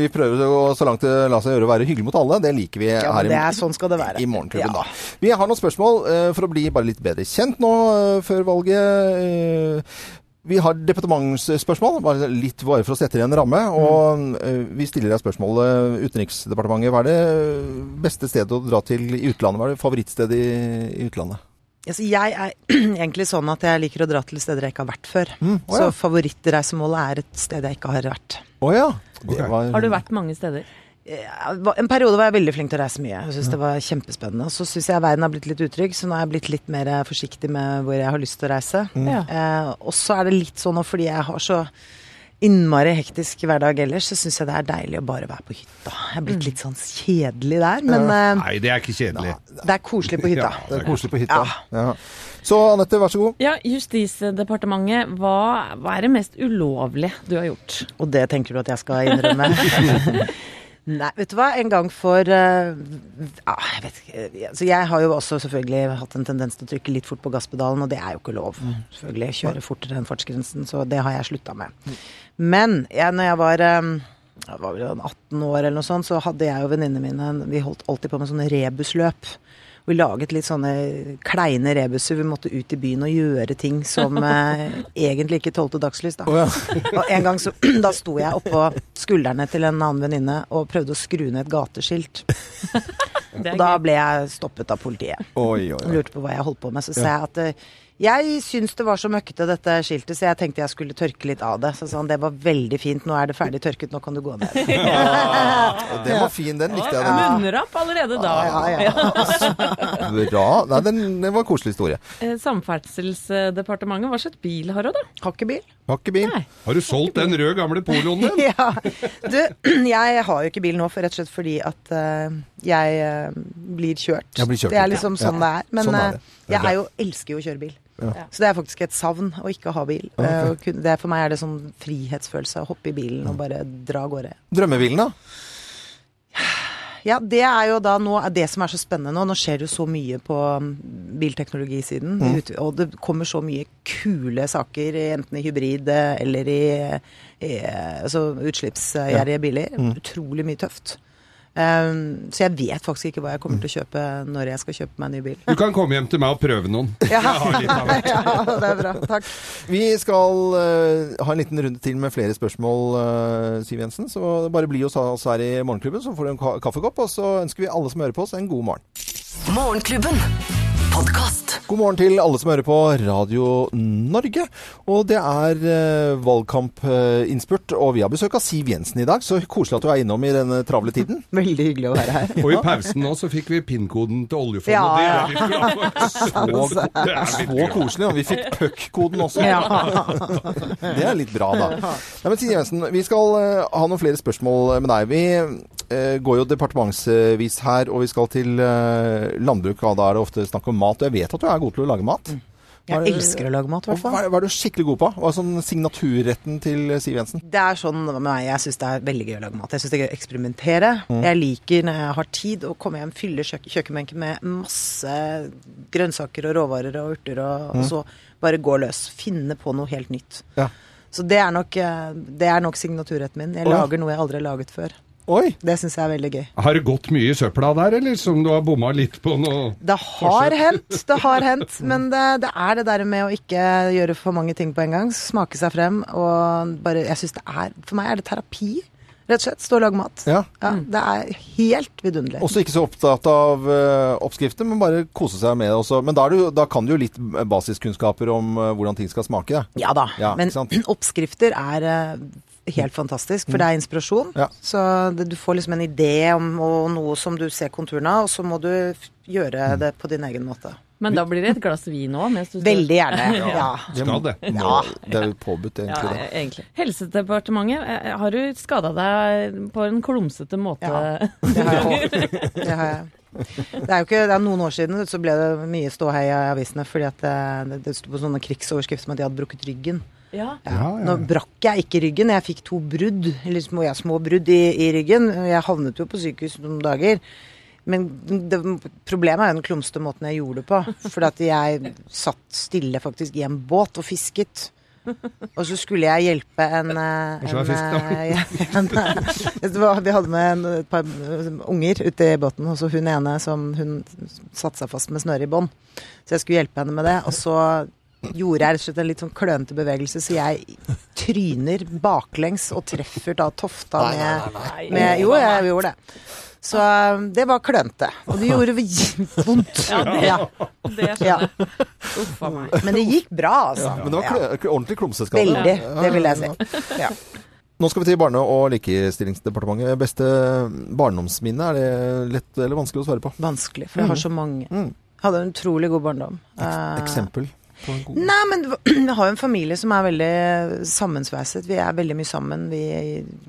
S6: vi prøver å, så langt det lar seg gjøre å være hyggelig mot alle. Det liker vi
S7: Ja,
S6: her
S7: men det
S6: i,
S7: er sånn skal det være.
S6: i Morgenklubben,
S7: Ja.
S6: da. Vi har noen spørsmål eh, for å bli bare litt bedre kjent nå eh, før valget. Eh, vi har departementsspørsmål, bare litt bare for å sette det i en ramme. Og eh, vi stiller deg spørsmålet Utenriksdepartementet, hva er det eh, beste stedet å dra til i utlandet? Hva er det favorittstedet i, i utlandet?
S7: Altså, jeg er egentlig sånn at jeg liker å dra til steder jeg ikke har vært før.
S6: Mm, å ja.
S7: Så favorittreisemålet er et sted jeg ikke har vært.
S6: Å ja. Det var,
S2: Har du vært mange steder?
S7: Jeg var- En periode var jeg veldig flink til å reise mye. Jeg synes det var kjempespennende. Og så syns jeg verden har blitt litt utrygg, så nå er jeg blitt litt mer eh, forsiktig med hvor jeg har lyst til å reise.
S2: Ja.
S7: Eh, og så er det litt sånn nå fordi jeg har så innmari hektisk hverdag ellers, så syns jeg det er deilig å bare være på hytta. Jeg er blitt litt sånn kjedelig der, men eh,
S1: Nei, det er ikke kjedelig.
S7: det er koselig på hytta.
S1: Ja.
S6: Det er koselig på hytta. Ja. Så Anette, vær så god.
S2: Ja, Justisdepartementet, hva, hva er det mest ulovlige du har gjort?
S7: Og det tenker du at jeg skal innrømme? Nei, vet du hva. En gang for eh, ja, Jeg vet ikke. eh, Altså, jeg har jo også selvfølgelig hatt en tendens til å trykke litt fort på gasspedalen, og det er jo ikke lov. Selvfølgelig. Kjøre fortere enn fartsgrensen. Så det har jeg slutta med. Men jeg, når jeg var eh, jeg var vel en 18 år eller noe sånt, så hadde jeg og venninnene mine en- Vi holdt alltid på med sånne rebusløp. Vi laget litt sånne kleine rebuser. Vi måtte ut i byen og gjøre ting som eh, egentlig ikke tålte dagslys, da. Og en gang så, da sto jeg oppå skuldrene til en annen venninne og prøvde å skru ned et gateskilt. Og da ble jeg stoppet av politiet.
S6: Oi, oi,
S7: Og
S6: oi.
S7: lurte på hva jeg holdt på med. Så sa jeg at eh, jeg syns det var så møkkete dette skiltet, så jeg tenkte jeg skulle tørke litt av det. Så sa han det var veldig fint, nå er det ferdig tørket, nå kan du gå ned.
S6: Den var fin, den likte jeg. Den.
S2: Munnrapp allerede da.
S7: Ja, ja.
S6: Bra. Nei, den, den var en koselig historie.
S2: Eh, Samferdselsdepartementet, hva slags bil har du da?
S7: Har ikke bil.
S6: Har ikke bil.
S2: Nei.
S1: Har du solgt den røde gamle poloen din?
S7: Ja. Du, jeg har jo ikke bil nå, for rett og slett fordi at eh, jeg eh, blir kjørt.
S6: Ja, blir kjørt,
S7: Det er
S6: ja.
S7: liksom
S6: Ja.
S7: sånn det er. Men
S6: Sånn er det.
S7: eh, Jeg er jo, elsker jo å kjøre bil. Så det er faktisk et savn å ikke ha bil. Eh, og kun- Det, er- for meg er det sånn frihetsfølelse å hoppe i bilen og bare dra av gårde.
S6: Drømmebilen, da?
S7: Ja, det er jo da nå det som er så spennende nå. Nå skjer det jo så mye på mm, bilteknologisiden. Ut- Og det kommer så mye kule saker, enten i hybrid eh, eller i, i eh, altså utslippsgjerrige biler. Utrolig mye tøft. Um, så jeg vet faktisk ikke hva jeg kommer til å kjøpe når jeg skal kjøpe meg en ny bil.
S1: Du kan komme hjem til meg og prøve noen. Jeg har litt av hvert.
S7: ja, det er bra. Takk.
S6: Vi skal eh, ha en liten runde til med flere spørsmål, eh, Siv Jensen. Så bare bli hos oss her i Morgenklubben, så får du en ka kaffekopp. Og så ønsker vi alle som hører på oss, en god morgen.
S5: Morgenklubben. Podkast.
S6: God morgen til alle som hører på Radio Norge. Og det er eh, valgkampinnspurt, eh, og vi har besøk av Siv Jensen i dag. Så koselig at du er innom i denne travle tiden.
S7: Veldig hyggelig å være her.
S1: Og i pausen nå så fikk vi PIN-koden til oljefondet.
S7: Ja, ja.
S1: Det er litt bra. Så, det er litt
S6: Så
S1: bra.
S6: koselig. Og vi fikk puck-koden også.
S7: Ja.
S6: Det er litt bra, da. Nei, men Siv Jensen, vi skal eh, ha noen flere spørsmål med deg. Vi eh, går jo departementsvis her, og vi skal til eh, landbruk. Og da er det ofte snakk om mat. Og jeg vet at du er god til å lage mat.
S7: Mm. Jeg elsker å lage mat, i
S6: Og
S7: hvert fall.
S6: Hva er, hva er du skikkelig god på? Hva er sånn signaturretten til eh, Siv Jensen?
S7: Det er sånn med meg, jeg syns det er veldig gøy å lage mat. Jeg syns det er gøy å eksperimentere.
S6: Mm.
S7: Jeg liker når jeg har tid å komme hjem, fylle kjøk kjøkkenbenken med masse grønnsaker og råvarer og urter, og,
S6: Mm.
S7: og så bare gå løs. Finne på noe helt nytt.
S6: Ja.
S7: Så det er nok, eh, det er nok signaturretten min. Jeg
S6: Å, ja.
S7: lager noe jeg aldri har laget før.
S6: Oi!
S7: Det syns jeg er veldig gøy.
S1: Har det gått mye i søpla der, eller som du har bomma litt på noe?
S7: Det har hendt, det har hendt. Men det, det er det der med å ikke gjøre for mange ting på en gang. Smake seg frem og bare Jeg syns det er For meg er det terapi, rett og slett. Stå og lage mat.
S6: Ja. Mm.
S7: det er helt vidunderlig.
S6: Også ikke så opptatt av eh, oppskrifter, men bare kose seg med det også. Men da, er du, da kan du jo litt basiskunnskaper om eh, hvordan ting skal smake. Da.
S7: Ja da.
S6: Ja,
S7: men
S6: ikke sant?
S7: oppskrifter er eh, helt fantastisk, for det er inspirasjon.
S6: Mm. Ja.
S7: Så det, du får liksom en idé om og noe som du ser konturene av, og så må du f-
S6: Mm.
S7: gjøre det på din egen måte.
S2: Men da blir det et glass vin òg.
S7: Veldig gjerne. ja.
S1: Skal det.
S6: Nå, det er jo påbudt,
S2: Ja,
S6: egentlig. det.
S2: egentlig. Helsedepartementet, eh, har du skada deg på en klumsete måte?
S7: Ja. Det har jeg. Det, har jeg. det er jo ikke, det er noen år siden så ble det mye ståhei i avisene fordi at eh, det, det sto på sånne krigsoverskrifter som at de hadde brukket ryggen.
S2: Ja.
S1: Ja, ja.
S7: Nå brakk jeg ikke ryggen, jeg fikk to brudd, eller små, ja, små brudd i, i ryggen. Jeg havnet jo på sykehus noen dager. Men det, problemet er jo den klumste måten jeg gjorde det på. For at jeg satt stille faktisk i en båt og fisket. Og så skulle jeg hjelpe en, eh,
S1: Kanskje det var
S7: eh, en, eh, det var- Vi hadde med en, et par eh, unger ute i båten, og så hun ene som hun satte seg fast med snøre i bånd. Så jeg skulle hjelpe henne med det. Og så gjorde jeg rett og slett en litt sånn klønete bevegelse, så jeg tryner baklengs og treffer da tofta med, med Jo, jeg gjorde det. Så eh, det var klønete. Og det gjorde vondt.
S2: Ja, det-
S7: Ja,
S2: Det
S7: ja.
S2: skjønner jeg. Uff a meg.
S7: Men det gikk bra, altså.
S6: Men det var klø, klø, ordentlig klumseskade.
S7: Veldig.
S6: Ja,
S7: Det vil jeg
S6: ja, ja.
S7: si. Ja.
S6: Nå skal vi til Barne- og likestillingsdepartementet. Beste barndomsminne, er det lett eller vanskelig å svare på?
S7: Vanskelig, for jeg har så mange. Hadde en utrolig god barndom. Eh,
S6: Eksempel. på en god-
S7: Nei, men det var- jeg har jo en familie som er veldig sammensveiset. Vi er veldig mye sammen. Vi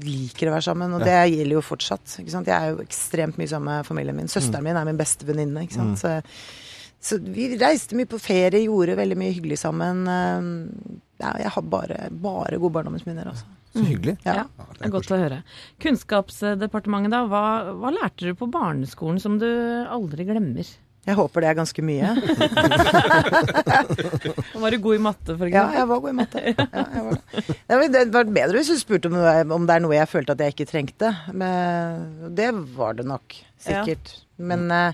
S7: liker å være sammen, og det gjelder jo fortsatt. Ikke sant? Jeg er jo ekstremt mye sammen med familien min. Søsteren min er min beste venninne. Ikke sant? Så, så vi reiste mye på ferie, gjorde veldig mye hyggelig sammen. Eh, Ja, jeg har bare, bare gode barndomsminner, altså.
S6: Så hyggelig.
S7: Ja.
S2: Ja, det er godt å høre. Kunnskapsdepartementet, da. Hva, hva lærte du på barneskolen som du aldri glemmer?
S7: Jeg håper det er ganske mye.
S2: Var du god i matte, for
S7: Ja,
S2: eksempel?
S7: jeg var god i matte. Ja, jeg var det. Nei, men det var bedre hvis du spurte om, om det er noe jeg følte at jeg ikke trengte. Men det var det nok, sikkert. Men eh,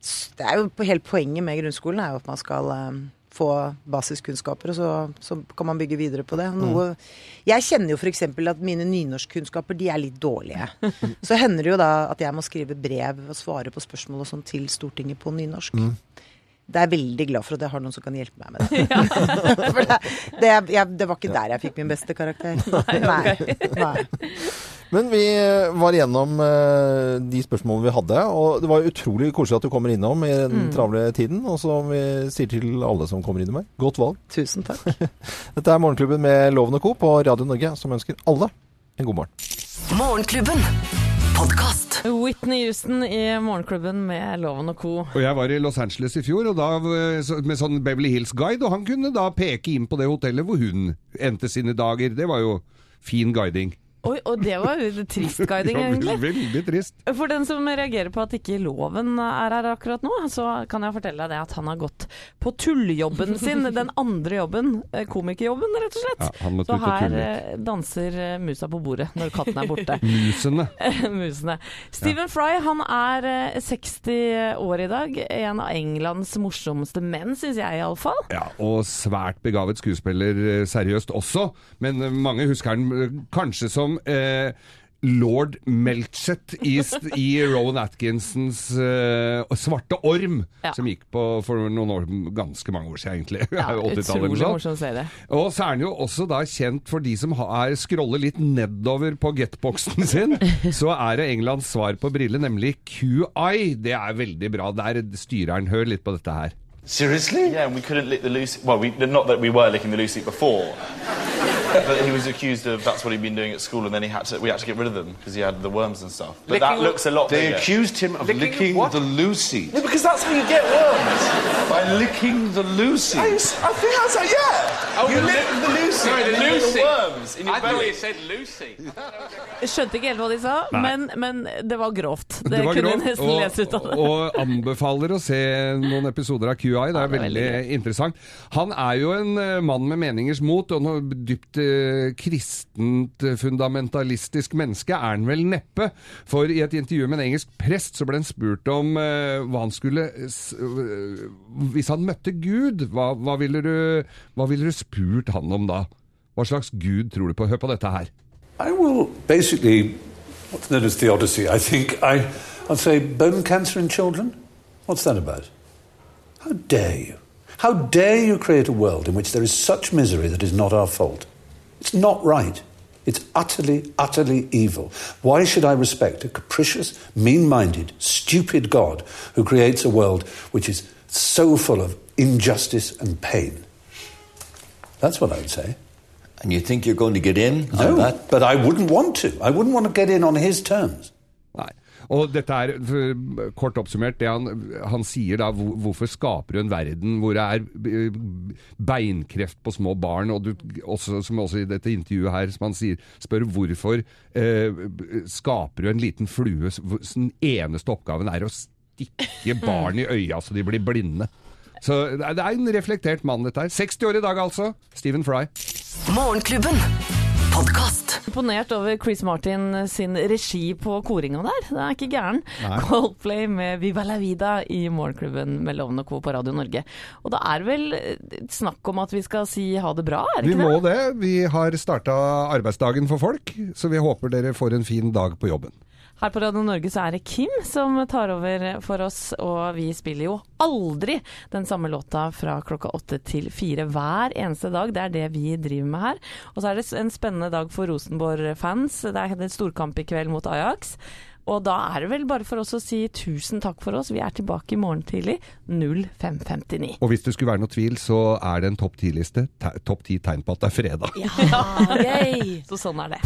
S7: s- det er jo på- hele poenget med grunnskolen er jo at man skal eh, få basiskunnskaper, og så, så kan man bygge videre på det. Noe, jeg kjenner jo f.eks. at mine nynorskkunnskaper de er litt dårlige. Så hender det jo da at jeg må skrive brev og svare på spørsmål og sånn til Stortinget på nynorsk. Det er jeg veldig glad for at jeg har noen som kan hjelpe meg med det. for det, det, jeg, det var ikke der jeg fikk min beste karakter. Nei, nei.
S6: Men vi var igjennom eh, de spørsmålene vi hadde, og det var jo utrolig koselig at du kommer innom i den travle tiden. Og som vi sier til alle som kommer innom her, godt valg.
S7: Tusen takk.
S6: Dette er Morgenklubben med Loven og Co. på Radio Norge, som ønsker alle en god morgen.
S5: Morgenklubben. podkast.
S2: Whitney Houston i Morgenklubben med Loven og co.
S1: Og jeg var i Los Angeles i fjor og da, eh, så- med sånn Beverly Hills Guide, og han kunne da peke inn på det hotellet hvor hun endte sine dager. Det var jo fin guiding.
S2: Oi, og det var jo trist guiding,
S1: Ja,
S2: egentlig.
S1: Veldig trist.
S2: For den som reagerer på at ikke loven er her akkurat nå, så kan jeg fortelle deg det at han har gått på tulljobben sin. Den andre jobben, eh, komikerjobben, rett og slett.
S1: Ja, han måtte
S2: så
S1: ut og tulle
S2: her
S1: litt.
S2: eh, danser eh, musa på bordet når katten er borte.
S1: Musene.
S2: Musene. Stephen Fry han er eh, 60 år i dag. En av Englands morsomste menn, syns jeg iallfall.
S1: Ja, og svært begavet skuespiller, eh, seriøst også. Men eh, mange husker han eh, kanskje som eh, Lord Melchett i, st- i Rowan Atkinsons eh, Svarte orm,
S2: Ja.
S1: som gikk på for noen år, ganske mange år siden, egentlig.
S2: Ja,
S1: 80-tallet eller noe
S2: utrolig
S1: sånt.
S2: morsom serie.
S1: Og så er han jo også da kjent for de som har, scroller litt nedover på getboxen sin. Så er det Englands svar på brille, nemlig QI. Det er veldig bra. Der styrer han. Hør litt på dette her.
S10: Seriously? Yeah, we couldn't lick the Lucy. Well, we, not that we were licking the Lucy before, but he was accused of that's what he'd been doing at school, and then he had to, we had to get rid of them because he had the worms and stuff. But that looks a lot
S9: They
S10: bigger.
S9: accused him of licking, the Lucy.
S10: No, because that's how you get worms.
S9: By licking the Lucy.
S10: I, s- I think that's how. Yeah. you lick the Lucy. and then you lick the worms in your belly.
S2: Skjønte ikke helt hva de sa, men, men det var grovt. Det,
S1: Det var
S2: kunne
S1: grovt,
S2: jeg nesten
S1: og,
S2: lese ut av det.
S1: og anbefaler å se noen episoder av QI. Det er
S2: det er
S1: veldig
S2: veldig
S1: interessant. Han er jo en eh, mann med meningers mot, og noe dypt eh, kristent, eh, fundamentalistisk menneske er han vel neppe. For i et intervju med en engelsk prest så ble han spurt om eh, hva han skulle s- øh, Hvis han møtte Gud, hva, hva, ville du, hva ville du spurt han om da? Hva slags gud tror du på? Hør på dette her.
S10: I will basically, what's known as theodicy, I think. I, I'd say bone cancer in children. What's that about? How dare you? How dare you create a world in which there is such misery that is not our fault? It's not right. It's utterly, utterly evil. Why should I respect a capricious, mean minded, stupid God who creates a world which is so full of injustice and pain? That's what I would say.
S9: And you think you're going to get in
S10: No, but I wouldn't want to. I wouldn't want to get in on his terms.
S1: Nei. Og dette er, f- kort oppsummert, det han, han sier da, hvor- hvorfor skaper du en verden hvor det er eh, beinkreft på små barn, og du, også, som også i dette intervjuet her, som han sier, spør hvorfor eh, skaper du en liten flue s- hvor s- den eneste oppgaven er å stikke barn i øya så de blir blinde. Så det er det er en reflektert mann dette her. 60 år i dag altså, Stephen Fry.
S5: Morgenklubben. Podkast.
S2: Imponert over Chris Martin sin regi på koringa der. Den er ikke gæren. Coldplay med Viva la vida i Morgenklubben med Loven og Co. på Radio Norge. Og det er vel eh, snakk om at vi skal si ha det bra, er det
S1: Vi
S2: ikke
S1: må det. Vi har starta arbeidsdagen for folk, så vi håper dere får en fin dag på jobben.
S2: det? Her på Radio Norge så er det Kim som tar over for oss, og vi spiller jo aldri den samme låta fra klokka åtte til fire hver eneste dag. Det er det vi driver med her. Og så er det en spennende dag for Rosenborg-fans. Det er en storkamp i kveld mot Ajax. Og da er det vel bare for oss å si tusen takk for oss. Vi er tilbake i morgen tidlig 05.59.
S1: Og hvis det skulle være noe tvil, så er det en topp ti-liste. Te- Topp ti tegn på at det er fredag.
S2: Så sånn er det.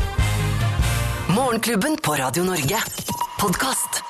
S5: Morgenklubben på Radio Norge. Podkast.